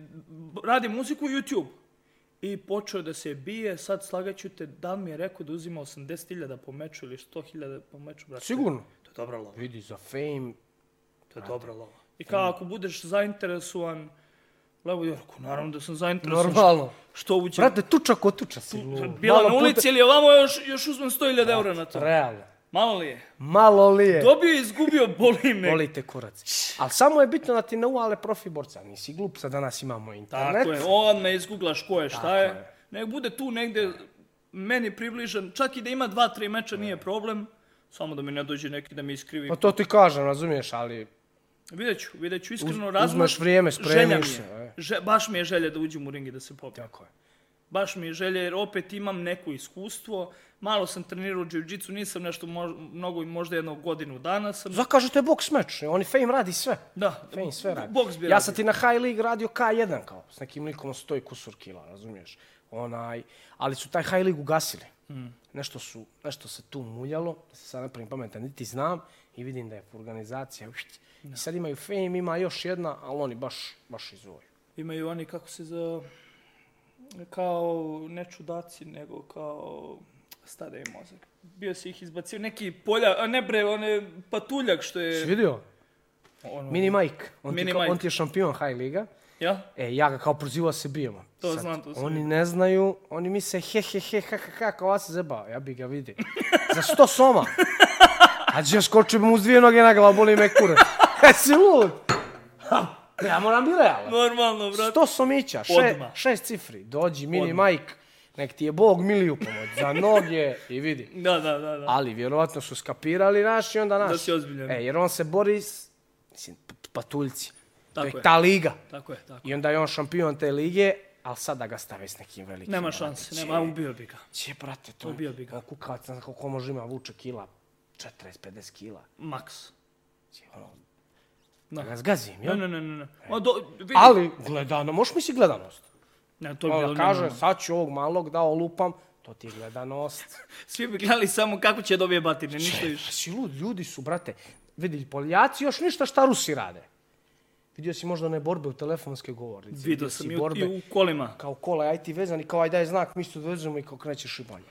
radi muziku YouTube. I počeo je da se bije, sad slagaću te, da li mi je rekao da uzima 80.000 po meču ili 100.000 po meču, brate. Sigurno. To je dobra lova. Vidi, za fame. To je dobra lova. I kao ako budeš zainteresovan, levo Jorku, naravno da sam zainteresovan. Normalno. Što, što uđe. Brate, tuča ko tuča si. Bila Malo na puta- ulici ili ovamo još, još uzmem 100.000 eura na to. Realno. Malo li je? Malo li je. Dobio i izgubio, boli me. E. Boli te kurac. Ali samo je bitno da ti ne uvale profi borca. Nisi glup, sad danas imamo internet. Tako je, odmah izguglaš ko je, šta je. je. Nek bude tu negde meni približan, čak i da ima dva, tri meča nije problem, samo da mi ne dođe neki da mi iskrivi. E. Pa to ti kažem, razumiješ, ali Vidjet ću, vidjet ću, iskreno Uz- razumem. uzmeš vrijeme, želja mi spremiš se, je. e. Že- baš mi je želja da uđem u ring i da se pobijem. tako je. Baš mi je želja jer opet imam neko iskustvo. Malo sam trenirao jiu-jitsu, nisam nešto mož- mnogo, možda jedno godinu dana sam. Zakažete boks meč, e, oni fame radi sve. Da, Fame sve radi. boks bi ja radio. sam ti na High League radio K1 kao, s nekim likom od 100 i kusur kila, razumiješ? Onaj, ali su taj High League ugasili. Hmm. Nešto, su, nešto se tu muljalo, da se sad napravim pametan, niti znam i vidim da je organizacija. ušt. I sad imaju Fame, ima još jedna, ali oni baš, baš izvoju. Imaju oni kako se za kao ne čudaci, nego kao stade i mozak. Bio si ih izbacio, neki polja, a ne bre, one patuljak što Si je... vidio? E, Ono, Mini Mike, on, Mini ti, kao- Mike. on ti je šampion High Liga. ja? E, ja ga kao prozivao se bijemo. To znam, to sam Oni ne znaju, oni misle he he he ha ha ha, kao vas se zebao, ja bi ga vidio. Za sto soma. A će skoči mu uz dvije noge na glavu, boli me kurac. E, si lud. Ha, Ja moram biti realan. Normalno, brate. Sto somića, še, Odmah. šest cifri, dođi mini Mike, nek ti je Bog miliju pomoć, za noge i vidi. Da, da, da, da. Ali vjerovatno su skapirali naš i onda naš. Da si ozbiljan. E, jer on se bori s, mislim, p- p- patuljci. To Tako je je. ta liga. Tako je, tako. I onda je on šampion te lige, ali sad da ga stave s nekim velikim. Nema brate, šanse, će- nema, ubio bi ga. Će, brate, to Ubio bi ga. Ono kukavac, znaš koliko može ima, vuče kila, 40-50 kila. Maks. Će, ono, Da. da ga zgazim, Ne, jel? ne, E. ne, ne. ne. Ma do, vidi. Ali, gledano, možeš mi si gledanost? Ne, to bi bilo Ono, kaže, nenormalno. sad ću ovog malog da olupam, to ti je gledanost. Svi bi gledali samo kako će dobije batine, ništa Če, više. si lud, ljudi su, brate, vidi, Poljaci još ništa šta Rusi rade. Vidio si možda one borbe u telefonske govornice. Vidio si sam i u, i u kolima. kao kola, aj ti vezan i kao aj daj znak, mi se odvezujemo i kao krećeš i bolje.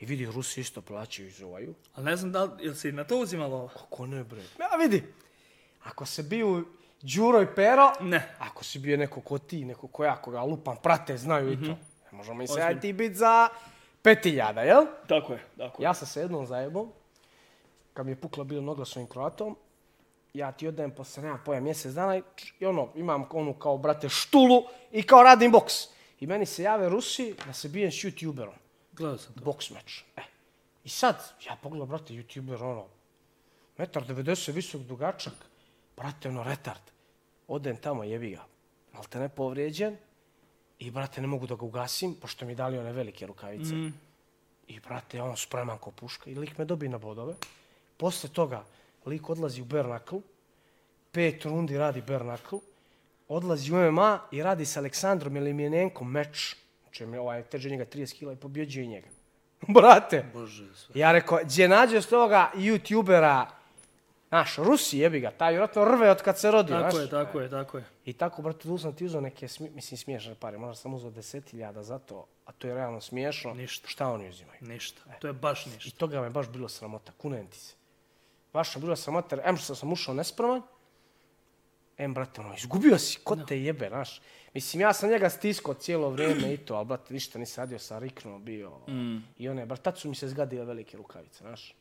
I vidi, Rusi isto plaćaju i zuvaju. Ali ne znam da li, jel se i na to uzimalo ovo? Kako ne bre? Ja vidi, ako se bio Đuro i Pero, Ne. ako si bio neko ko ti, neko ko ja, koga lupam, prate, znaju i to. E, Možemo mi se aj ti bit za 5000, jel? Tako je, tako je. Ja sam se jednom zajebao, kad mi je pukla bila noga s ovim kroatom, ja ti odajem posle, nema poja, mjesec dana i, č- i ono, imam onu kao, brate, štulu i kao radim boks. I meni se jave Rusi da se bijem s youtuberom, Gledao sam to. boks meč. E. I sad, ja pogledam, brate, youtuber, ono, metar 90 visok dugačak, brate, ono, retard. Odem tamo, jebi ga. Mal te ne povrijeđen i, brate, ne mogu da ga ugasim, pošto mi dali one velike rukavice. I brate, on spreman ko puška i lik me dobije na bodove. Posle toga lik odlazi u Bernakl, pet rundi radi Bernakl, odlazi u MMA i radi sa Aleksandrom Eliminenkom meč. Znači, mi ovaj teže njega 30 kila i pobjeđuje njega. Brate, Bože, sve. ja rekao, gdje nađeš toga youtubera, znaš, Rusi jebi ga, taj vjerojatno rve od kad se rodio, Tako znaš. je, tako je, tako je. I tako, brate, tu sam ti uzao neke, smi, mislim, smiješne pare, možda sam uzao 10.000 za to, a to je realno smiješno. Ništa. Šta oni uzimaju? Ništa. To je baš I ništa. toga me baš bilo sramota, kunem ti se. Baš me bilo sramota, jer em što sam ušao nespreman, em, brate, ono, izgubio si, ko te jebe, znaš. Mislim, ja sam njega stiskao cijelo vrijeme i to, ali, brate, ništa nisam radio, sam riknuo bio. ono, Mm. I one, brate, tad su mi se zgadile velike rukavice, znaš.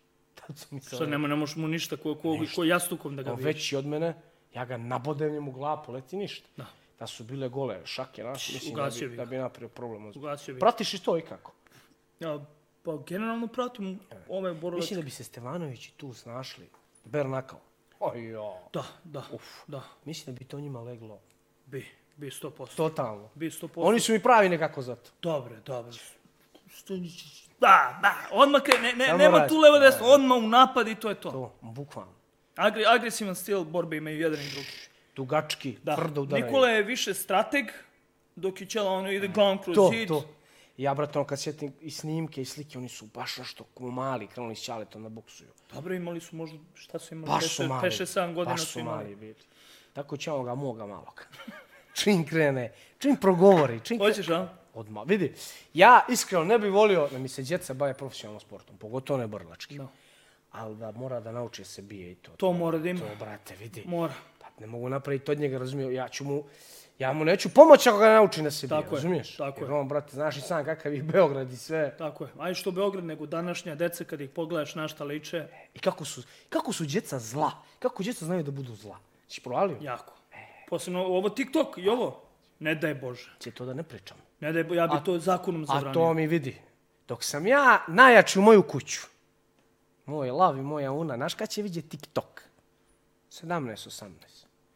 Tad su mi se... Sad nema, ne možeš mu ništa ko, ko, ko jastukom da ga On vidi. veći od mene, ja ga nabodem njemu glavu, poleti ništa. Da. Da su bile gole šake, znaš, mislim da ugasio bi, bi da ga. bi napravio problem. ozbiljno. Ugasio bi. Pratiš i to ikako? Ja, pa generalno pratim ove borbe. Mislim da bi se Stevanović i tu snašli. Bernakao. Oj, jo. Da, da, da. Mislim da bi to njima leglo. Bi, bi 100%. Totalno. Bi 100%. Oni su mi pravi nekako za to. Dobre, dobre. Stonjičić. Da, da, odmah kre, ne, ne, Samo nema radi. tu levo desno, odmah u napad i to je to. To, bukvalno. Agre, agresivan stil borbe imaju jedan i drugi. Dugački, Da. tvrdo udaraju. Nikola je više strateg, dok je Ćela ono ide glavom kroz to, zid. to. Ja, brate, ono, kad sjetim i snimke i slike, oni su baš nešto ko mali, krenuli s čaletom da buksuju. Dobro, imali su možda, šta su imali, Baš Pa su mali. 5-6-7 godina baš su imali. mali bili. Tako ćemo ga moga malog. čim krene, čim progovori, čim krene, Hoćeš, a? odmah. Vidi, ja iskreno ne bih volio da mi se djeca bave profesionalnim sportom, pogotovo ne borlački. Da. Ali da mora da nauči da se bije i to. To mora da ima. To, brate, vidi. Mora. Pa ne mogu napraviti od njega, razumiju, ja ću mu, ja mu neću pomoći ako ga ne naučim da se bije, Tako je, razumiješ? tako Jer je. on, brate, znaš i sam kakav je Beograd i sve. Tako je. Aj što Beograd, nego današnja deca, kad ih pogledaš na šta liče, I kako su, kako su djeca zla, kako djeca znaju da budu zla. Si provalio? jako. Posebno ovo TikTok i ovo. Ne daj Bože. Će to da ne pričam. Ne daj Bože, ja bi to zakonom A zabranio. to mi vidi. Dok sam ja najjači u moju kuću, moj lav i moja una, znaš kad će vidjeti TikTok? 17, 18.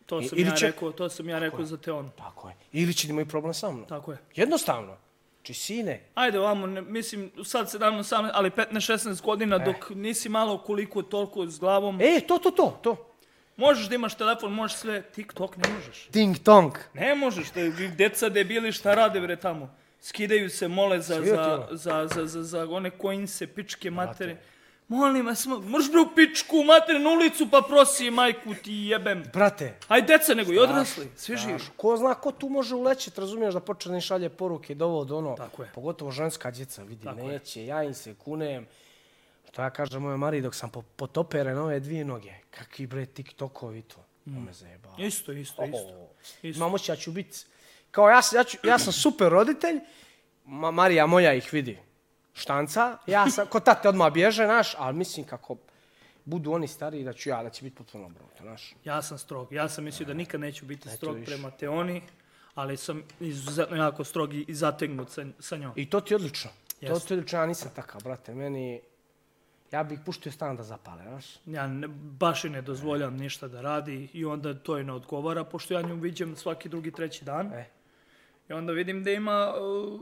To sam Ili ja će- rekao, to sam ja rekao za te ono. Tako je. Ili će da imaju problem sa mnom. Tako je. Jednostavno. Či sine, Ajde ovamo, ne, mislim, sad 17, 18, ali 15-16 godina, dok nisi malo koliko toliko s glavom. e, to, to, to, to. Možeš da imaš telefon, možeš sve, TikTok ne možeš. Ting tong. Ne možeš, te, deca debili šta rade bre tamo. Skidaju se, mole za, Svi od za, toga. za, za, za, za one kojince, pičke matere. Molim vas, mo- možeš bre u pičku mater na ulicu pa prosi majku ti jebem. Brate, Aj deca nego i odrasli, svi živi. ko zna ko tu može ulećet, razumiješ da počne da im šalje poruke do ovo, do ono. Tako je. Pogotovo ženska djeca, vidi, neće, ja im se kunem. Što ja kažem moje Mariji, dok sam po, potoperen ove dvije noge, kakvi bre TikTokovi to. Mm. me zajebava. Isto, isto, isto. Isto. Imamo ja ću biti, kao ja, sam- ja, ću, ja sam super roditelj, Ma, Marija moja ih vidi, štanca, ja sam, ko tate odmah bježe, naš, ali mislim kako budu oni stariji da ću ja, da će biti potpuno obrnuto, znaš. Ja sam strog. Ja sam mislio da nikad neću biti strog E, više. prema Teoni, ali sam izuzetno jako strog i i zategnut sa, sa njom. I to ti je odlično. To Jeste. ti je odlično, ja nisam takav, brate, meni, ja bih puštio stan da zapale, znaš. Ja ne, baš i ne dozvoljam ništa da radi i onda to i ne odgovara, pošto ja nju viđem svaki drugi, treći dan. E. I onda vidim da ima, uh,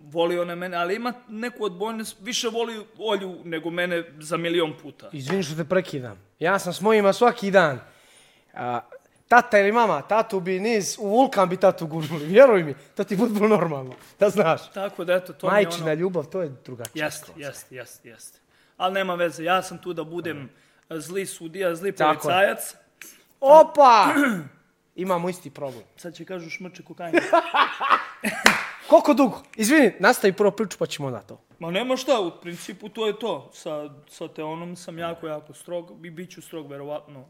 voli ona mene, ali ima neku odbojnost, više voli Olju nego mene za milion puta. Izvini što te prekidam. Ja sam s mojima svaki dan. A, tata ili mama, tatu bi niz, u vulkan bi tatu gurnuli, vjeruj mi. To ti bude bilo normalno, da znaš. Tako da eto, to mi je Majčina ono... ljubav, to je drugačija. Jeste, jeste, jeste, jeste. Ali nema veze, ja sam tu da budem uh, zli sudija, zli E. Tako je. policajac. Opa! Imamo isti problem. Sad će kažu šmrče kokajna. Koliko dugo? Izvini, nastavi prvo priču pa ćemo na to. Ma nema šta, u principu to je to. Sa, sa Teonom sam jako, jako strog i bit ću strog verovatno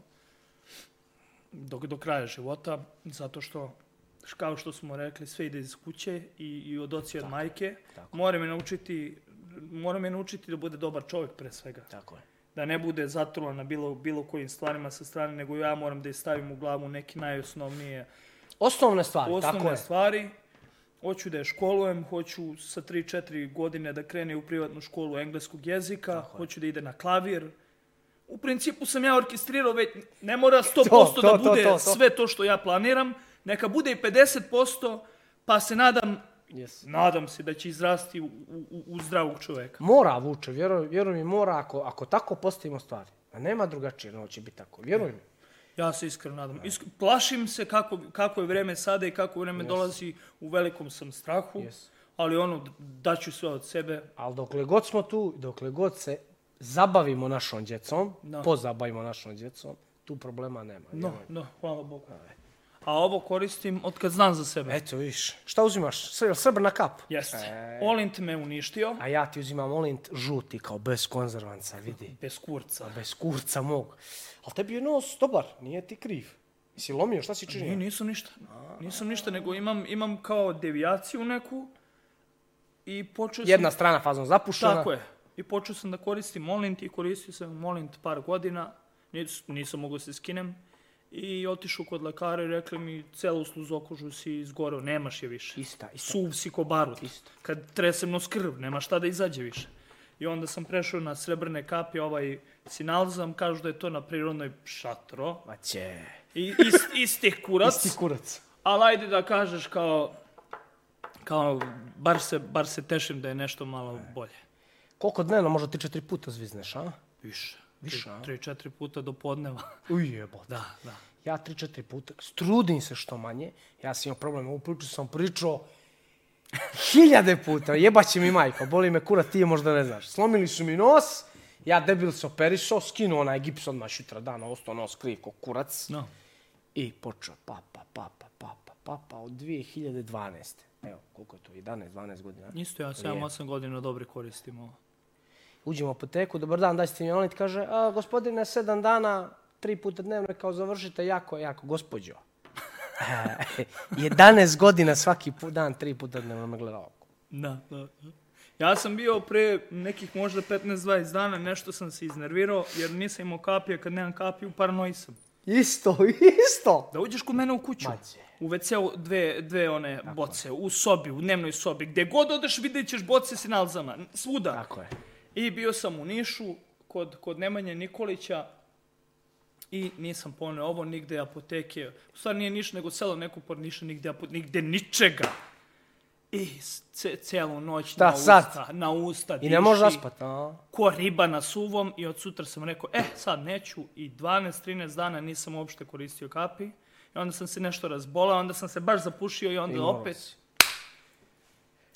do, do kraja života, zato što, š- kao što smo rekli, sve ide iz kuće i, i od oca i od majke. Mora me naučiti mora me naučiti da bude dobar čovjek pre svega. Tako je. Da ne bude zatrovan na bilo, bilo kojim stvarima sa strane, nego ja moram da je stavim u glavu neke najosnovnije Osnovne stvari, tako osnovne je. stvari. Hoću da je školujem, hoću sa 3-4 godine da krene u privatnu školu engleskog jezika, hoću da ide na klavir. U principu sam ja orkestrirao već, ne mora 100% To, to, da to, bude to, to. sve to što ja planiram, neka bude i 50%, pa se nadam, Yes. nadam se da će izrasti u, u, u zdravog čoveka. Mora vuče, vjeruj, vjeruj mi, mora ako, ako tako postavimo stvari. A nema drugačije, no će biti tako, vjeruj mi. Ja se iskreno nadam. Isk- plašim se kako, kako je vreme sada i kako vreme dolazi, u velikom sam strahu, Yes. ali ono, daću sve od sebe, Ali dokle god smo tu, dokle god se zabavimo našom djecom, Da. pozabavimo našom djecom, tu problema nema. No, vjeruj mi. no, hvala Bogu. A ovo koristim od kad znam za sebe. Eto, viš. Šta uzimaš? Sr- Srebrna kap? Jeste. E. Olint me uništio, A ja ti uzimam olint žuti, kao bez konzervanca, vidi. bez kurca. Bez kurca mog. Ali tebi je nos dobar, nije ti kriv. Si lomio, šta si Ni, činio? nisam ništa. Nisam ništa, nego imam, imam kao devijaciju neku i počeo sam... Jedna strana fazom zapušena. Tako je. I počeo sam da koristim Olint i koristio sam Molint par godina. Nis, nisam mogao se skinem. I otišao kod lekara i rekli mi celu sluzokožu si izgoreo, nemaš je više. Ista, ista. suv si ko barut. Kad tresem nos krv, nema šta da izađe više. I onda sam prešao na srebrne kapi, ovaj sinalzam, kažu da je to na prirodnoj šatro. Ma će. I ist, istih kurac, Isti kurac. ali ajde da kažeš kao, kao bar, se, bar se tešim da je nešto malo bolje. Koliko dnevno, možda ti četiri puta zvizneš, a? Više. Više, a? Tri, četiri puta do podneva. Ujebo. Da, da. Ja tri, četiri puta, strudim se što manje. Ja sam imao problem, ovu priču sam pričao hiljade puta, jebaće mi majka, boli me kura, ti je možda ne znaš. Slomili su mi nos, ja debil se operisao, skinuo onaj gips odmah šutra dana, ostao nos kriv ko kurac. No. I počeo pa, papa, papa, papa, papa pa, od 2012. Evo, koliko je to, 11, 12 godina. Isto ja 7-8 godina dobro koristim ovo. Uđem u apoteku, dobar dan, daj ste mi olit, kaže, a, gospodine, sedam dana, tri puta dnevno, kao završite, jako, jako, gospođo. E, 11 godina svaki pu- dan, tri puta dnevno me gleda oko. Da, da. da. Ja sam bio pre nekih možda 15-20 dana, nešto sam se iznervirao jer nisam imao kapija, kad nemam kapiju paranoji sam. Isto, isto. Da uđeš kod mene u kuću, Mađe. u WC-u dve, dve one boce, u sobi, u dnevnoj sobi, gdje god odeš vidjet ćeš boce s nalzama, svuda. Tako je. I bio sam u Nišu kod, kod Nemanje Nikolića i nisam poneo ovo, nigde apoteke, u stvari nije Niš nego selo neko pod Niša, nigde, apo- nigde ničega. I s- ce, celu noć Šta na sad? usta, na usta I ne može zaspat, a? ko riba na suvom i od sutra sam rekao, eh, sad neću i 12-13 dana nisam uopšte koristio kapi. I onda sam se nešto razbolao, onda sam se baš zapušio i onda I morao opet. si.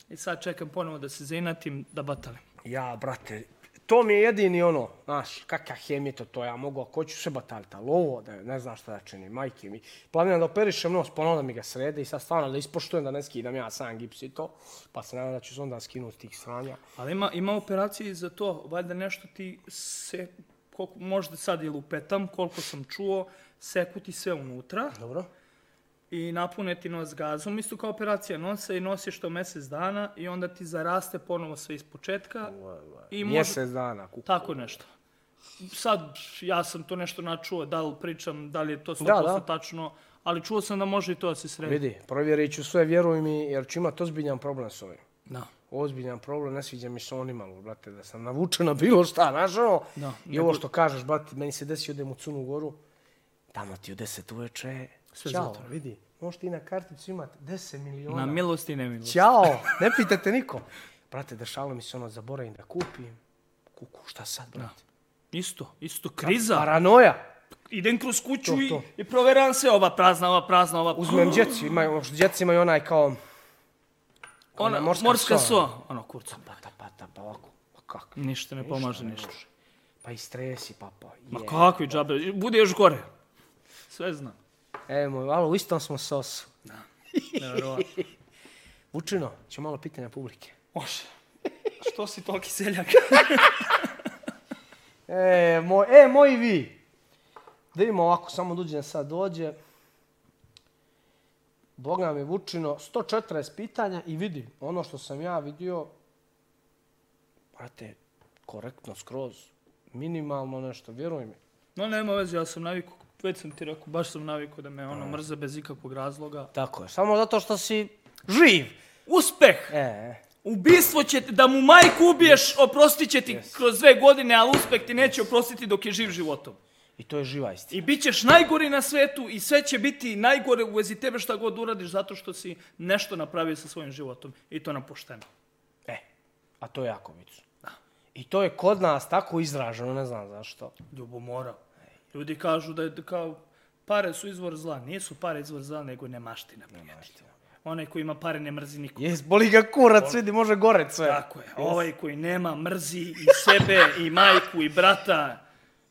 I sad čekam ponovo da se zainatim, da batalim. Ja, brate, to mi je jedini ono, znaš, kakav hem je to, to ja mogu, ako hoću se batalit, ali ovo, da ne znam šta da činim, majke mi. Planiram da operišem nos, ponovno da mi ga srede i sad stvarno da ispoštujem da ne skidam ja sam gips i to, pa se nadam da ću se onda skinuti tih sranja. Ali ima, ima operacije i za to, valjda nešto ti se, koliko, možda sad i lupetam, koliko sam čuo, seku ti sve unutra Dobro? i napune ti nos gazom, isto kao operacija nosa i nosiš to mesec dana i onda ti zaraste ponovo sve iz početka i može, Ovaj, Mjesec dana, kuku. Tako nešto. Sad, ja sam to nešto načuo, da li pričam, da li je to 100% Da, da. tačno, ali čuo sam da može i to da se sredi. Vidi, provjerit ću sve, vjeruj mi, jer ću imat ozbiljan problem s ovim. Da. Ozbiljan problem, ne sviđa mi se on imalo, brate, da sam navučen na bilo šta, znaš ono. Da, I ovo što kažeš, brate, meni se desi, odem u Cunu Goru, tamo ti u 10 uveče, Sve Ćao, zato. vidi. Možeš ti na karticu imat 10 miliona. Na milost i nemilost. Ćao, ne pitate niko. Brate, dešalo mi se ono, zaboravim da kupim. Kuku, šta sad, brate? Isto, isto, kriza. Paranoja. Idem kroz kuću To, i, to. i proveram se, ova prazna, ova prazna, ova... Uzmem djeci, imaju, djeci imaju onaj kao... kao Ona, ona morska, Mm. so. Ono, kurca. Pata, pata, pa ovako. Pa kako? Ništa ne pomaže, ništa. može. Pa i stresi, pa pa. Ma je. kakvi džabe, bude još gore. Sve znam. E, moj, alo, u istom smo sosu. Neverovatno. Vučino, će malo pitanja publike. Može. Što si toliki seljak? E, moj, e, moji vi. Da vidimo ovako, samo duđen sad dođe. Boga mi Vučino, 140 pitanja i vidi, ono što sam ja vidio, brate, korektno skroz, minimalno nešto, vjeruj mi. No nema veze, ja sam naviku, već sam ti rekao, baš sam naviku da me ono mrze bez ikakvog razloga. Tako je, samo zato što si živ. Uspeh! E, E, Ubistvo će ti, da mu majku ubiješ, oprostit će ti kroz dve godine, ali uspeh ti neće oprostiti dok je živ životom. i to je živa istina. I bit ćeš najgori na svetu i sve će biti najgore u vezi tebe šta god uradiš zato što si nešto napravio sa svojim životom. I to nam pošteno. E, a to je jako bitno. I to je kod nas tako izraženo, ne znam zašto. Ljubomora. Ljudi kažu da je d- kao pare su izvor zla. Nisu pare izvor zla, nego nemaština. prijatelju. Onaj koji ima pare ne mrzi nikog. Jes, boli ga kurac, vidi, može gore sve. Tako je. Ovaj koji nema mrzi i sebe, i majku, i brata.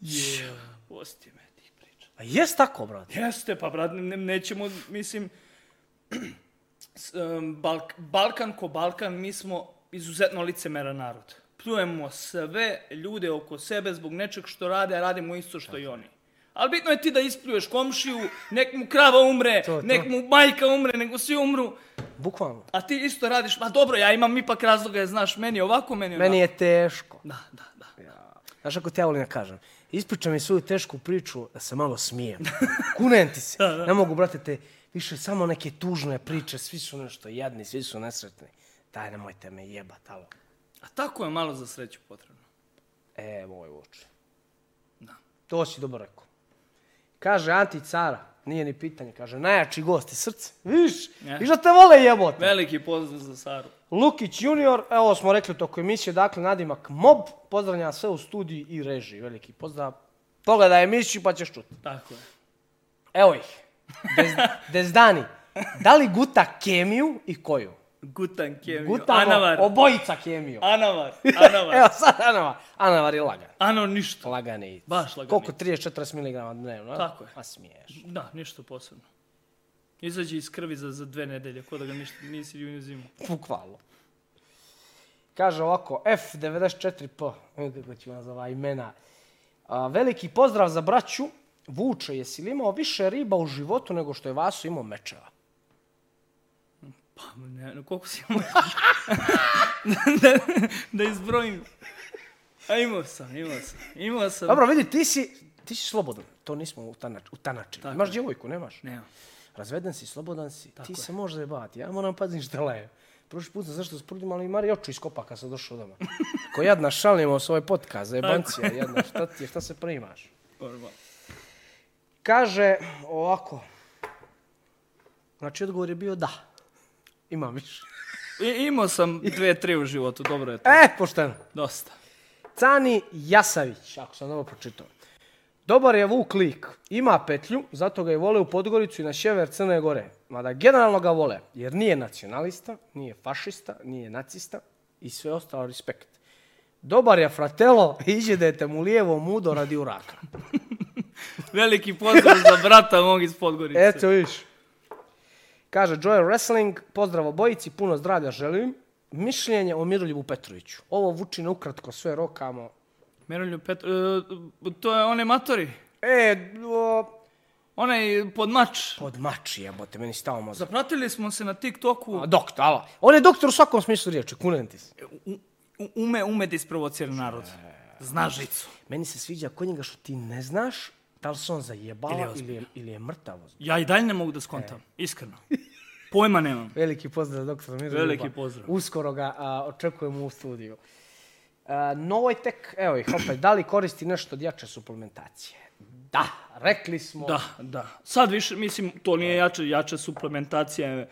Je. Pusti me ti priča. A jes tako, brate. Jeste, pa brat, ne, nećemo, mislim, s, em, Balk, Balkan ko Balkan, mi smo izuzetno licemeran narod. Pljujemo sve ljude oko sebe zbog nečeg što rade, a radimo isto što i oni. Ali bitno je ti da ispljuješ komšiju, nek mu krava umre, To, to. nek mu majka umre, nego svi umru, Bukvalno. a ti isto radiš, ma dobro, ja imam ipak razloga, jer znaš, meni je ovako, meni je Meni je teško. Da, da, da. Znaš ako ti ja volim da kažem? Ispričam mi svoju tešku priču da se malo smijem. Kunem ti se. Ne mogu, brate, te više samo neke tužne priče. Svi su nešto jadni, svi su nesretni. Daj, nemojte me jebat, alo. A tako je malo za sreću potrebno. E, moj vuče. Da. To si dobro rekao. Kaže Anti Cara, nije ni pitanje, kaže najjači gost je srce. Viš, Ja. viš da te vole jebote. Veliki pozdrav za Saru. Lukić junior, evo smo rekli toko emisije, dakle nadimak Mob, pozdravljam sve u studiji i režiji, veliki pozdrav. Pogledaj emisiju pa ćeš čuti. Tako je. Evo ih, Dez, Dezdani, da li guta kemiju i koju? Gutan Kevio. Gutamo Anavar. obojica kemiju. Anavar. Anavar. Evo sad Anavar, Anavar je lagan. Ano ništa. Lagani. Baš lagan Koliko? 30-40 mg dnevno, a? Tako je. A smiješ. Da, ništa posebno. Izađe iz krvi za, za dve nedelje, ko da ga ništa nisi ju ni zimu. Bukvalno. Kaže ovako, F94P, evo kako ću vam za ova imena. A, veliki pozdrav za braću. Vuče, jesi li imao više riba u životu nego što je Vaso imao mečeva? Pa, ne, no, koliko si imao? da, da izbrojim. A imao sam, imao sam. Imao sam. Dobro, vidi, ti si, ti si slobodan. To nismo utanač, utanačili. Tako Imaš je. djevojku, nemaš? Nema. Razveden si, slobodan si, ti je. se možeš zajebati. Ja moram pazim šta leje. Prošli put sam zašto sprdim, ali Mari oču iskopa kad sam došao doma. Ko jadna šalimo s ovaj podcast, zajebancija, jadna, šta ti je, šta se primaš? Normal. Kaže ovako. Znači, odgovor je bio da. Ima više. I, imao sam dve, tri u životu, dobro je to. E, pošteno. Dosta. Cani Jasavić, ako sam dobro pročitao. Dobar je Vuk Lik. Ima petlju, zato ga je vole u Podgoricu i na sjever Crne Gore. Mada generalno ga vole, jer nije nacionalista, nije fašista, nije nacista i sve ostalo respekt. Dobar je fratelo, iđe dete mu lijevo mudo radi uraka. Veliki pozdrav za brata mog iz Podgorice. Eto, viš. Kaže Joy Wrestling, pozdrav obojici, puno zdravlja želim. Mišljenje o Miroljubu Petroviću. Ovo vuči na ukratko sve rokamo. Meroljub Petro... e, to je one matori. E, o, Onaj podmač. pod mači jebote, meni stao mozak. Zapratili smo se na TikToku. A, Doktor, ala. On je doktor u svakom smislu riječi, kunem ti se. U- u- ume, ume da isprovocira narod. Zna žicu. Meni se sviđa kod njega što ti ne znaš da li se on zajebala Ili je ili, je, ili je mrtav. Ja i dalje ne mogu da skontam, iskreno. Pojma nemam. Veliki pozdrav, doktor Miroljuba. Veliki pozdrav. Uskoro ga a, očekujemo u studiju. A, Novojtek, evo ih opet, da li koristi nešto od jače suplementacije? Da, rekli smo. Da, da. Sad više, mislim, to nije jače, jače suplementacije, e,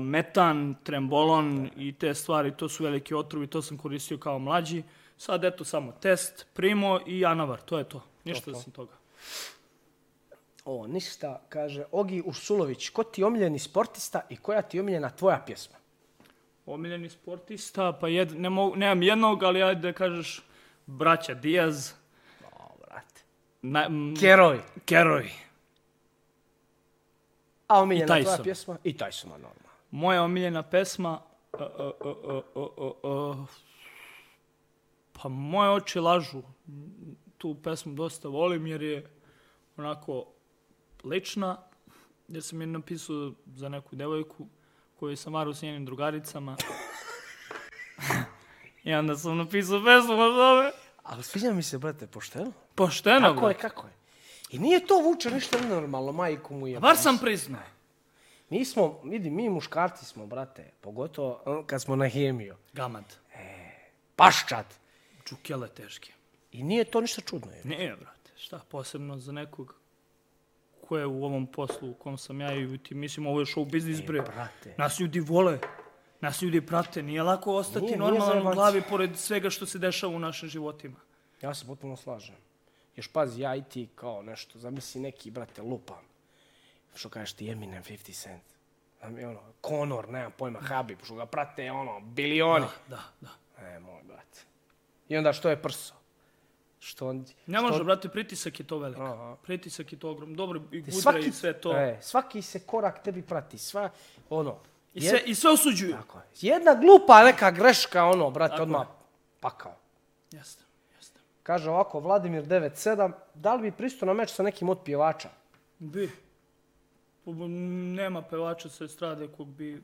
metan, trembolon i te stvari, to su veliki otrovi, to sam koristio kao mlađi. Sad eto samo test, primo i anavar, to je to. Ništa osim toga. O, ništa, kaže Ogi Ursulović, ko ti je omiljeni sportista i koja ti je omiljena tvoja pjesma? Omiljeni sportista, pa jed, ne mogu, nemam jednog, ali ajde da kažeš braća Diaz, O, brate. na, m, Keroj. Kerovi. A omiljena I tvoja Tyson. pjesma? I Tysona, normalno. Moja omiljena pesma... e, e, e, e, e, e, e, pa moje oči lažu. Tu pesmu dosta volim jer je onako lična. Jer sam je napisao za neku devojku koju sam varao s njenim drugaricama. I onda sam napisao pesmu o tome. Ali sviđa mi se, brate, pošteno. Pošteno, Kako je, bro. kako je? I nije to vuče ništa nenormalno, majku mu je. Var sam priznao. Mi smo, vidi, mi muškarci smo, brate, pogotovo ono, kad smo na hemiju. Gamat. Paščat. Čukele teške. I nije to ništa čudno. Je. Ne, brate, šta posebno za nekog ko je u ovom poslu u kom sam ja i ti, mislim, ovo je show biznis, bre. E, brate. Nas ljudi vole, nas ljudi prate, nije lako ostati Nije, nije normalan u zajebanci. glavi pored svega što se dešava u našim životima. Ja se potpuno slažem. Još pazi, ja i ti kao nešto, zamisli neki, brate, lupam. Što kažeš ti, Eminem, 50 Cent. Znam, i ono, Conor, nemam pojma, Habib, što ga prate, ono, bilioni. Da, da. E, moj, brate. I onda što je prso? Što on... Ne može, brate, pritisak je to velik. Aha. Pritisak je to ogrom. Dobro, i Te gudra i sve to. E, svaki se korak tebi prati, sva, ono... I, jed- sve, I sve osuđuju. Tako je. Jedna glupa neka greška, ono, brate, Tako odmah je. pakao. Jeste, jeste. Kaže ovako, Vladimir 97, da li bi pristao na meč sa nekim od pjevača? Bi. Pa, b- Nema pevača sa estrade kog bi,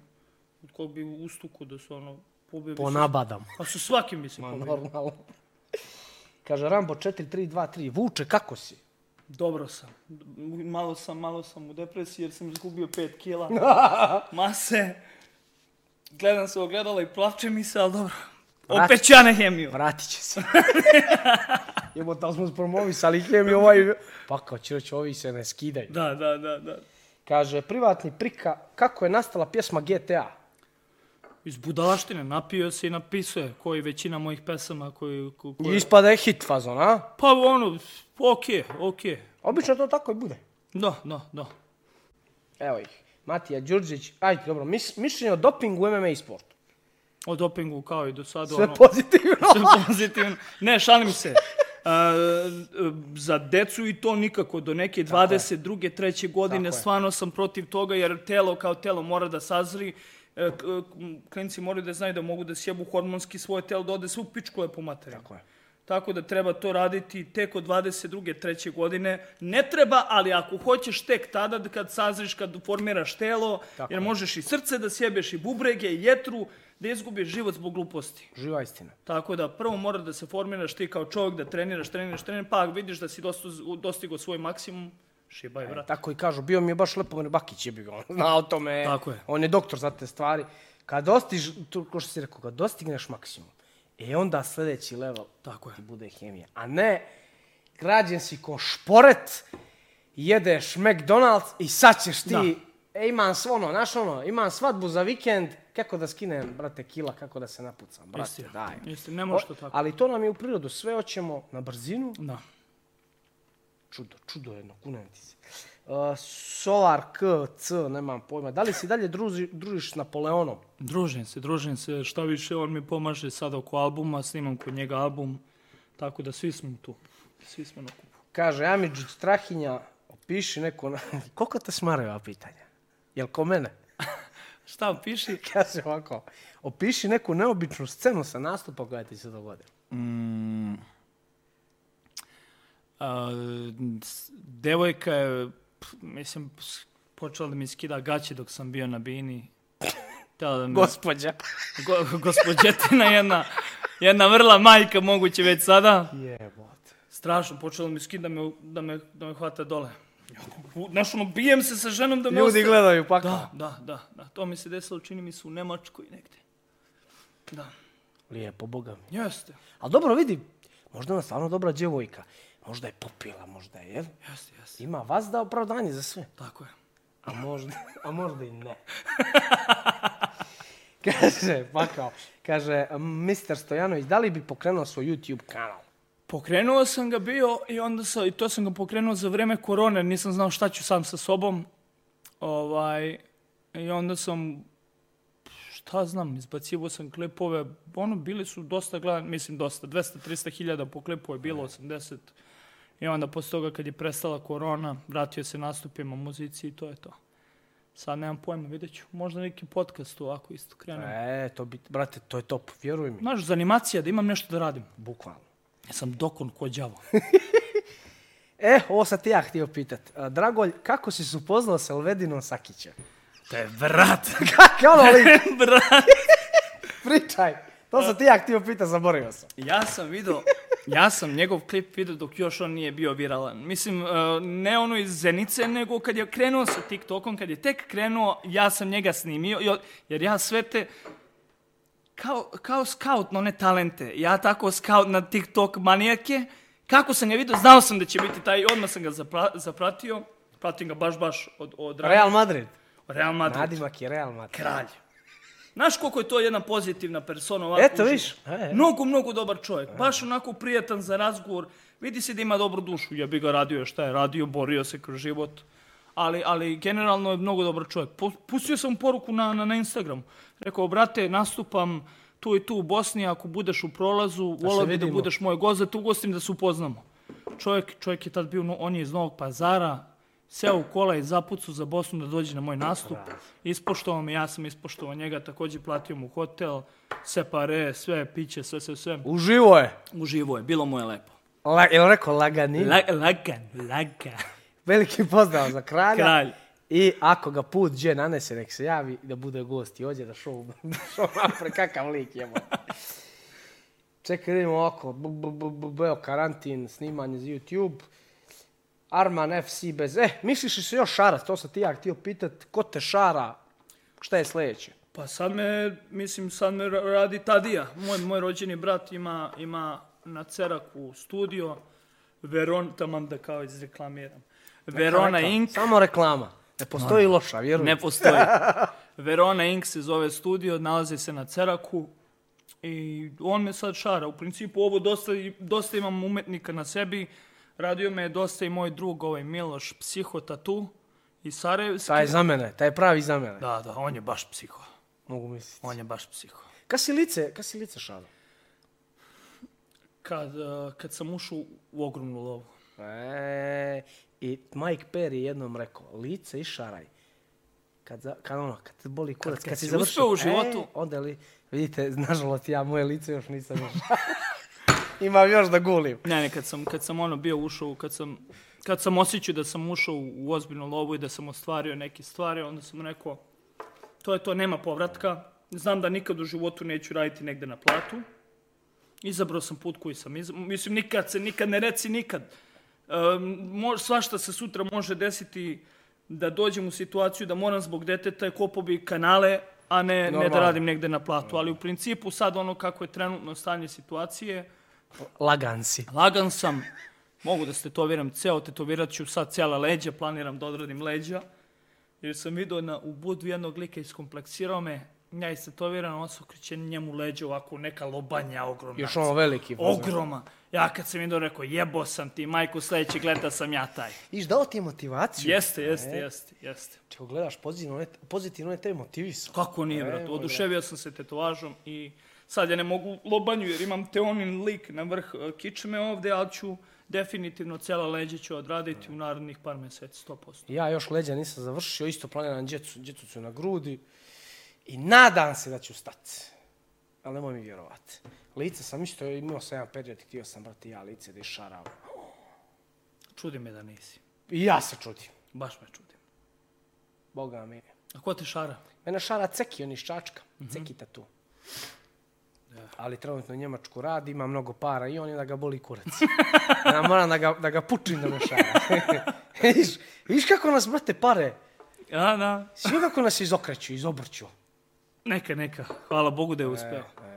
od kog bi ustuku da su ono pobio. bi se- Ponabadam. Pa su svakim bi se Ma, pobio. normalno. Kaže Rambo 4323, vuče, kako si? Dobro sam. Malo sam, malo sam u depresiji jer sam izgubio 5 kila mase. Gledam se u ogledalo i plače mi se, ali dobro. Opet ću ja na hemiju. Vratit će se. Jebo, da li smo promovisali hemiju ovaj... Pa kao će reći, ovi se ne skidaju. Da, da, da, da. Kaže, privatni prika, kako je nastala pjesma GTA? Iz budalaštine napio se i napisao je koji većina mojih pesama koji... Ko, koje- Ispada je hit fazon, a? Pa ono, okej, okej. Obično to tako i bude. Da, da, da. Evo ih. Matija Đurđić, ajde, dobro, mis, mišljenje o dopingu u MMA i sportu. O dopingu kao i do sada. Sve ono, pozitivno. sve pozitivno. Ne, šalim se. E, za decu i to nikako. Do neke 22. treće godine Tako je. stvarno sam protiv toga jer telo kao telo mora da sazri. E, k- m, Klinci moraju da znaju da mogu da sjebu hormonski svoje telo, da ode sve u pičku je po materiju. Tako je. Tako da treba to raditi tek od 22. treće godine. Ne treba, ali ako hoćeš tek tada d- kad sazriš, kad formiraš telo, Tako jer je. možeš i srce da sjebeš i bubrege i jetru, da izgubiš život zbog gluposti. Živa istina. Tako da prvo mora da se formiraš ti kao čovjek, da treniraš, treniraš, treniraš, pa ako vidiš da si dostu- dostigao svoj maksimum, šibaj, vrat. Tako i kažu, bio mi je baš Lepomir Bakić, je bi ga on znao o tome. Tako je. On je doktor za te stvari. Kad dostiž, to ko što si rekao, kad dostigneš maksimum, e onda sljedeći level Tako je. ti bude hemija. A ne, građen si ko šporet, jedeš McDonald's i sad ćeš ti, e imam svo ono, znaš ono, imam svadbu za vikend, kako da skinem, brate, kila, kako da se napucam, brate, Istina. daj. Istina, ne može O, to tako. Ali to nam je u prirodu, sve hoćemo na brzinu, Da. Čudo, čudo jedno, kunem ti se. Uh, Solar KC, nemam pojma. Da li si dalje druži, družiš s Napoleonom? Družim se, družim se, šta više, on mi pomaže sad oko albuma, snimam kod njega album, tako da svi smo tu. Svi smo na kupu. Kaže, Amidžić Strahinja, opiši neko... Na... Koliko te smaraju ova pitanja? Jel ko mene? Šta piši? Kaže ovako, opiši neku neobičnu scenu sa nastupa koja ti se dogodila. Mm. A, s- devojka je, pf, mislim, s- počela da mi skida gaće dok sam bio na bini. Htjela da mi... Gospodja. Go, gospođetina jedna, jedna vrla majka moguće već sada. Jebote. Strašno, počela mi skida da me, da me, da me hvata dole. U- Znaš, ono, bijem se sa ženom da me Ljudi osta- gledaju pa Da, da, da, da. To mi se desilo, čini mi se, u Nemačkoj negde. Da. Lijepo, boga mi. Jeste. Ali dobro, vidi, možda je ona stvarno dobra djevojka. Možda je popila, možda je, jel? Jeste, jeste. Ima vas da opravdanje za sve. Tako je. A možda, a možda i ne. kaže, pa kao, kaže, Mr. Stojanović, da li bi pokrenuo svoj YouTube kanal? Pokrenuo sam ga bio i onda sam, i to sam ga pokrenuo za vreme korone, nisam znao šta ću sam sa sobom. Ovaj, I onda sam, šta znam, izbacivo sam klipove, ono, bili su dosta gledani, mislim dosta, 200-300 hiljada po klipu je bilo, 80. I onda posle toga kad je prestala korona, vratio se nastupima muzici i to je to. Sad nemam pojma, vidjet ću. Možda neki podcast ovako isto krenem. E, to bi, brate, to je top, vjeruj mi, Znaš, za animacija, da imam nešto da radim. bukvalno. Ja sam dokon ko đavo. E, ovo sam ti ja htio pitat. A, Dragolj, kako si se upoznao sa Elvedinom Sakićem? To je vrat. Kako ono lik? Brat. Pričaj. To sam ti ja htio pitat, zaboravio sam. Ja sam video, ja sam njegov klip video dok još on nije bio viralan. Mislim, e, ne ono iz Zenice, nego kad je krenuo sa TikTokom, kad je tek krenuo, ja sam njega snimio, jo- jer ja sve te, kao, kao scout na one talente, ja tako scout na TikTok manijake, kako sam ga video, znao sam da će biti taj, odmah sam ga zapra, zapratio, pratim ga baš, baš od, od Real, Real Madrid. Real Madrid. Nadimak je Real Madrid. kralj. Znaš koliko je to jedna pozitivna persona ovako? Eto, uživo? viš. E, Mnogo, mnogo dobar čovjek. Baš onako prijatan za razgovor. Vidi se da ima dobru dušu. Ja bi ga radio šta je radio, borio se kroz život. Ali, ali generalno je mnogo dobar čovjek. Pu- Pustio sam poruku na, na, na Instagramu. Rekao, brate, nastupam tu i tu u Bosni, ako budeš u prolazu, volao bi da vidimo. budeš moj gost, da te ugostim da se upoznamo. Čovjek, čovjek je tad bio, no, on je iz Novog pazara, seo u kola i zapucu za Bosnu da dođe na moj nastup. Ispoštovao me, ja sam ispoštovao njega, takođe platio mu hotel, sve pare, sve piće, sve, sve, sve. Uživo je. Uživo je, bilo mu je lepo. La, jel rekao lagani? La, lagan, lagan. Veliki pozdrav za kralja. Kralj. I ako ga put gdje nanese, nek se javi da bude gost i ođe da šou, da šou napre, kakav lik jemo. Čekaj, da vidimo oko, beo karantin, snimanje za YouTube, Arman FC bez... E, misliš li se još šara? To sam ti ja htio pitat, ko te šara? Šta je sljedeće? Pa sad me, mislim, sad me ra- radi Tadija. Moj, moj rođeni brat ima, ima na Ceraku studio. Veron, tamam da kao izreklamiram. Verona Rekla- Inc. Samo reklama. Ne postoji loša, vjerujem. Ne postoji. Verona Inc. se zove studio, nalazi se na Ceraku. I on me sad šara. U principu ovo dosta, i- dosta imam umetnika na sebi. Radio me je dosta i moj drug, ovaj Miloš, psihotatu. I Sarajevski. Taj je za mene, taj je pravi za mene. Da, da, on je baš psiho. Mogu misliti. On je baš psiho. Kad si lice, kad si lice šara? Kad, eh, kad sam ušao u ogromnu lovu. E, I Mike Perry je jednom rekao, lice i šaraj. Kad, za, kad, ono, kad te boli kurac, kad, kad si si završio, uspeo u životu. E, onda li, vidite, nažalost ja moje lice još nisam još. Imam još da gulim. Ne, ne, kad sam, kad sam ono bio ušao, kad sam, kad sam osjećao da sam ušao u ozbiljnu lovu i da sam ostvario neke stvari, onda sam rekao, to je to, nema povratka, znam da nikad u životu neću raditi negde na platu. Izabrao sam put koji sam izabrao. Mislim, nikad se, nikad ne reci nikad. Um, mož, svašta se sutra može desiti da dođem u situaciju da moram zbog deteta kopo bi kanale, a ne, ne da Normalno. radim negde na platu. Ali u principu sad ono kako je trenutno stanje situacije, Lagan si. Lagan sam, mogu da se tetoviram ceo, tetovirat ću sad cijela leđa, planiram da odradim leđa. Jer sam vidio na, u budu jednog lika iskompleksirao me, ja istetoviram, on se okreće njemu leđa ovako, neka lobanja ogromna. Još ono veliki. fazon. Ogroma. Ja kad sam vidio rekao, jebo sam ti, majku sledećeg leta sam ja taj. Viš, dao ti je motivaciju. Jeste, E. jeste, jeste, jeste. Čeko gledaš pozitivno, on je, pozitivno on je te motivisao. Kako nije, brate, oduševio sam se tetovažom i sad ja ne mogu lobanju jer imam teonin lik na vrh e, kičme ovde, ali ću definitivno cijela leđa ću odraditi u narednih par meseci, 100%. Ja još leđa nisam završio, isto planiram djecu, djecucu na grudi i nadam se da ću stati. Ali nemoj mi vjerovati. Lice sam isto imao sam jedan period, htio sam brati ja lice da išaravam. Čudi me da nisi, I ja se čudim. baš me čudim. Boga mi. A ko te šara? Mene šara Ceki, on iz Čačka. Ceki tatu. Ali trenutno Njemačku radi, ima mnogo para i on je da ga boli kurac. ja moram da ga, da ga pučim da me šara. viš, viš kako nas, brate, pare. Ja, da. Sve kako nas izokreću, izobrću. E, Neka, neka. Hvala Bogu da je uspeo. e. Hvala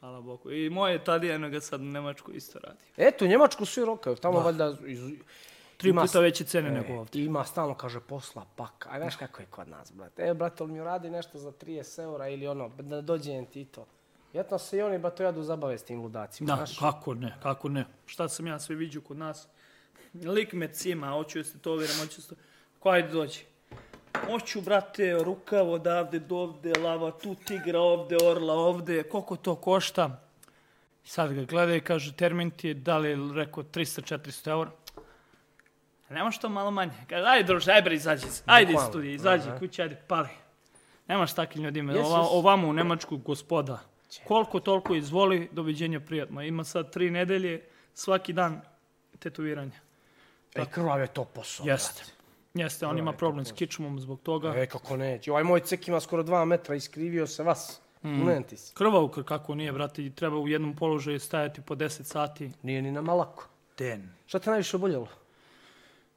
Hvala Bogu. I moje tadija eno ga sad u Nemačku isto radi. Eto, u Njemačku svi rokaju, tamo valjda iz, Tri Ima puta s- veće cene nego ovdje. i ima stalno, kaže, posla pak. A znaš kako je kod nas, brate? E, brate, on mi uradi nešto za 30 eura ili ono, da dođe jen ti to. Vjetno se i oni, ba, to jadu zabave s tim ludacima, Da, pa- znaš? kako ne, kako ne. Šta sam ja sve vidio kod nas? Lik me cima, hoću se to vjerujem, hoću se to... Ko ajde dođi? Hoću, brate, rukav odavde do ovde, lava tu, tigra ovde, orla ovde, koliko to košta? Sad ga gleda i kaže, termin ti je, da li je rekao 300-400 eura? Nemaš to malo manje. Kaže, ajde druže, ajde bre, izađi, se. ajde iz Bukvalno, studija, izađi kući, ajde, pali. Nemaš takvim ljudima, Jes, Ova, jes. ovamo u Nemačku gospoda. Koliko toliko izvoli, doviđenja prijatno. Ima sad tri nedelje, svaki dan tetoviranja. E, krvav je to posao, Jeste. Jeste, on ima problem s kičmom zbog toga. brate. E, kako neće. Ovaj moj cek ima skoro dva metra, iskrivio se vas. Mm. ti se. Krvavka kako nije, brate, i treba u jednom položaju stajati po 10 sati. Nije ni nama lako. Den. Šta te najviše oboljelo?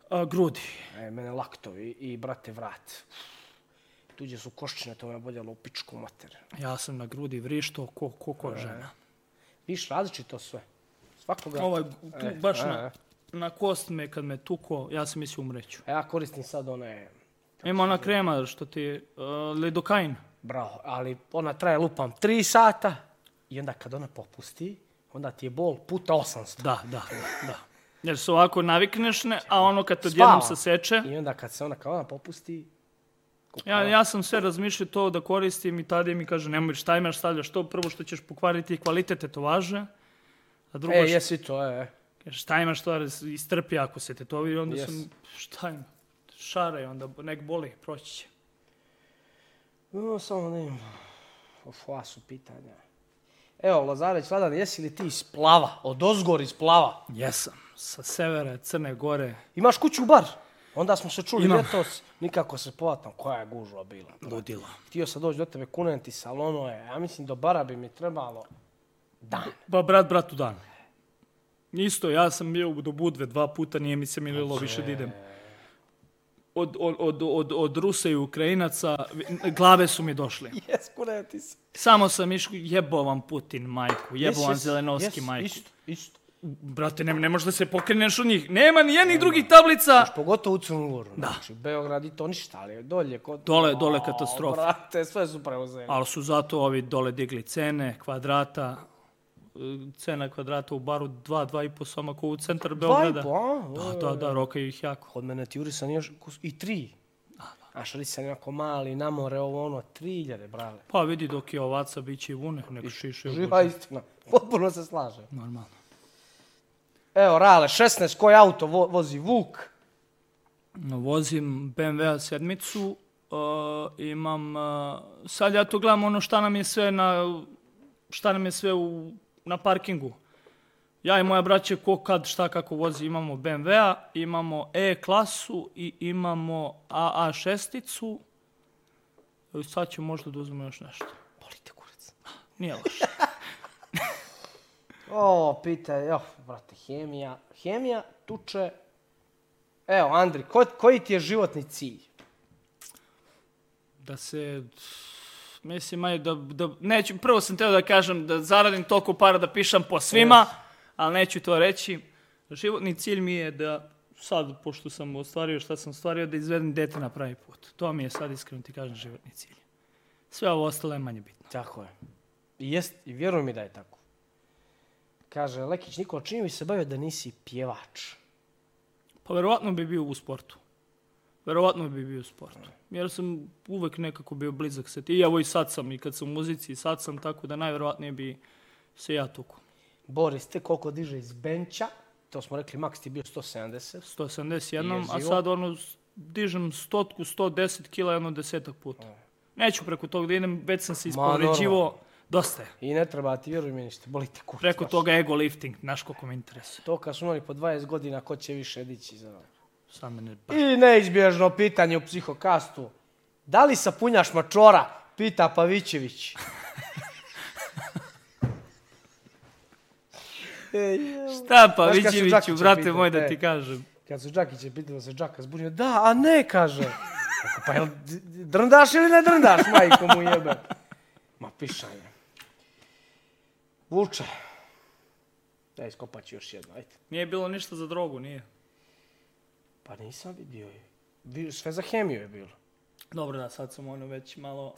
A, grudi. E, mene laktovi i, brate, vrat. Tuđe su koščine, to me oboljelo u pičku mater. Ja sam na grudi vrišto ko, ko, E. ko žena. Viš, različito sve. Svakoga... Ovaj, tu, E, baš e, na, e. na kost me kad me tuko, ja sam mislio umreću. A Pa ja koristim sad one, Ima ona krema što ti je, uh, lidokain. bravo, ali ona traje lupam 3 sata i onda kad ona popusti, onda ti je bol puta 800. Da, da, da, da. Jer se ovako navikneš, ne, a ono kad to Spava. odjednom se seče, I onda kad se ona, kad ona popusti, ja, ja sam sve razmišljao to da koristim i tada mi kaže nemoj šta imaš, stavljaš to, prvo što ćeš pokvariti je kvalitet tetovaže, a drugo e, što- jesi to, e, e. kaže, šta imaš to istrpi ako se tetovira, onda Jes. sam šta ima, šaraj onda, nek boli, proći će. No, samo da imam o fasu pitanja. Evo, Lazareć Vladan, jesi li ti iz plava? Od ozgor iz plava. Jesam, sa severa Crne Gore, Imaš kuću u bar? Onda smo se čuli Imam. ljetos, nikako se povatam, koja je gužva bila. ludila. Htio sam doći do tebe, kunem ti salono je, ja mislim do bara bi mi trebalo dan. Ba, brat, brat u dan. Isto, ja sam bio do Budve dva puta, nije mi se mililo više da idem. Od, od, od, od, od Rusa i Ukrajinaca vi- glave su mi došle. Jes, kunem ti se. Samo sam išao, jebo vam Putin majku, jebo Jes, vam jes, Zelenovski jes, majku. Isto, isto. Brate, ne, ne možeš da se pokreneš od njih. Nema ni jednih drugih tablica. Pogotovo u Crnu Goru. Znači, Beograd i to ništa, ali dolje kod... Dole, dole O, katastrofa. Brate, sve su preuzeli. Ali su zato ovi dole digli cene, kvadrata, e, cena kvadrata u baru 2, 2,5 soma ko u centar Beograda. po, a? Da, da, da, rokaju ih jako. Kod mene ti jurisan još kus- i tri. A šarisan jako mali, namore, ovo ono, tri iljade, brale. Pa vidi dok je ovaca bit će i vune, nego šiše i Živa istina. Potpuno se slaže. Normalno. Evo, Rale, 16, koji auto vo- vozi Vuk? No, Vozim BMW-a sedmicu, uh, imam, uh, sad ja to gledam ono šta nam je sve na, šta nam je sve u, na parkingu. Ja i moja braća ko kad šta kako vozi imamo BMW-a, imamo E-klasu i imamo AA šesticu. E, Sad ću možda da uzmemo još nešto. Bolite kurac. Nije loše. O, pita, jo, brate, hemija. Hemija, tuče. Evo, Andri, ko, koji ti je životni cilj? Da se... Mislim, aj, da, da, neću, prvo sam teo da kažem da zaradim toliko para da pišem po svima, ali neću to reći. Životni cilj mi je da sad, pošto sam ostvario šta sam ostvario, da izvedem dete na pravi put. To mi je sad, iskreno ti kažem, životni cilj. Sve ovo ostalo je manje bitno. Tako je. I, jest, i vjeruj mi da je tako. Kaže, Lekić, Nikola, čini mi se bavio da nisi pjevač. Pa verovatno bi bio u sportu. Verovatno bi bio u sportu. Jer sam uvek nekako bio blizak sa ti. I evo i sad sam, i kad sam u muzici, i sad sam, tako da najverovatnije bi se ja tukao. Boris, te koliko diže iz benča, to smo rekli, maks ti je bio 170. 171, a Jezivo. sad ono s- dižem stotku, 110 kila jedno desetak puta. E. Neću preko toga da idem, već sam se ispoređivo, dosta je. I ne treba ti, vjeruj mi ništa, boli te kurac. Preko baš. toga ego lifting, znaš koliko me interesuje. To kad su imali po 20 godina, ko će više dići za ovo? Sad mene ba- I neizbježno pitanje u psihokastu. Da li sapunjaš mačora? Pita Pavićević. E, jao. Šta pa, Znaš kad su Viđeviću, Đakića brate pitao, moj, da e. ti kažem. Kad su Đakiće pitali da se Đaka zbunio, da, a ne, kaže. Rekao, Pa jel d- d- drndaš ili ne drndaš, majko mu jebe? Ma pišanje. Vuče. Da, iskopat ću još jedno, ajde. Nije bilo ništa za drogu, nije. Pa nisam vidio je. Vi- Sve za hemiju je bilo. Dobro, da, sad sam ono već malo...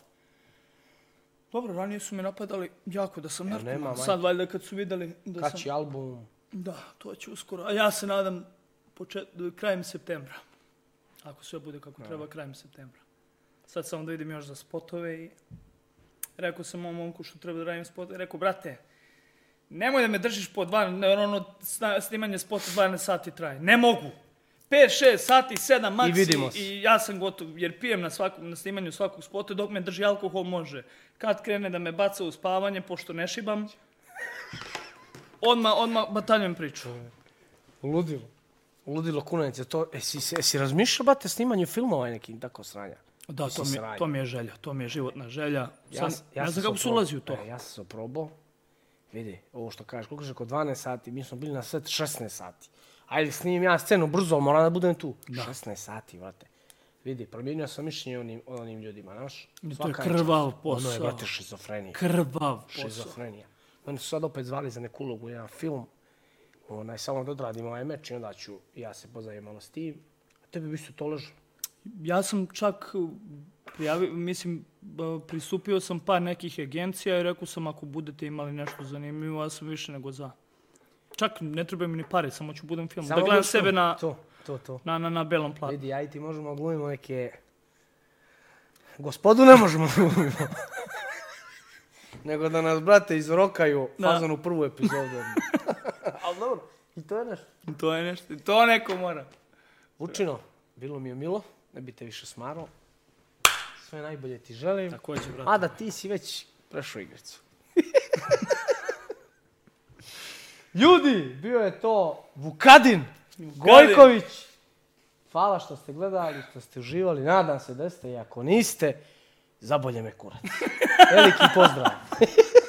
Dobro, ranije su me napadali jako da sam narkoman. E, nema, Sad valjda kad su vidjeli da Kad sam... će album? Da, to će uskoro. A ja se nadam počet... krajem septembra. Ako sve bude kako treba, krajem septembra. Sad samo da vidim još za spotove i... Rekao sam mom momku što treba da radim spotove. Rekao, brate, nemoj da me držiš po 12, jer ono sna- snimanje spota 12 sati traje. Ne mogu. 5, 6 sati, 7 maksi vidimo se. i ja sam gotov, jer pijem na, svakom, na snimanju svakog spota, dok me drži alkohol može. Kad krene da me baca u spavanje, pošto ne šibam, odmah, odmah bataljujem priču. Ludilo. Ludilo kunanec je to. E, si, si, si razmišljao, bate, snimanju filmova i nekim tako sranja? Da, to mi, sranje. to mi je želja, to mi je životna želja. Sam, ja, ne sam znam kako se se oprobao. ulazi u to. E, ja sam se oprobao. Vidi, ovo što kažeš, koliko je kod 12 sati, mi smo bili na set 16 sati. Ajde, snimim ja scenu brzo, ali moram da budem tu. 16 sati, vrate. Vidi, promijenio sam mišljenje onim, onim ljudima, znaš? To je Svaka krvav čast. Ono je, posao. brate, šizofrenija. Krvav posao. Šizofrenija. Mene su sad opet zvali za neku ulogu, jedan film. Onaj, samo da odradim ovaj meč i onda ću, ja se pozavim malo s tim. A tebi bi se to ležalo. Ja sam čak uh, prijavio, mislim, uh, pristupio sam par nekih agencija i rekao sam ako budete imali nešto zanimljivo, ja sam više nego za. Čak ne treba mi ni pare, samo ću budem film. da gledam budeš tu. sebe na, Pa- To, to, to. na, na, na belom platu. Vidi, ja i ti možemo glumimo neke... Gospodu ne možemo da glumimo. Nego da nas, brate, izrokaju Da. fazon u prvu epizodu. Ali dobro, i to je nešto. To je nešto, to neko mora. Vučino, bilo mi je milo, ne bi te više smarao. Sve najbolje ti želim. Takođe, brate. A da ti si već prešao igricu. Ljudi, bio je to Vukadin, Gojković. Hvala što ste gledali, što ste uživali. Nadam se da ste i ako niste, zabolje me kurac. Veliki pozdrav.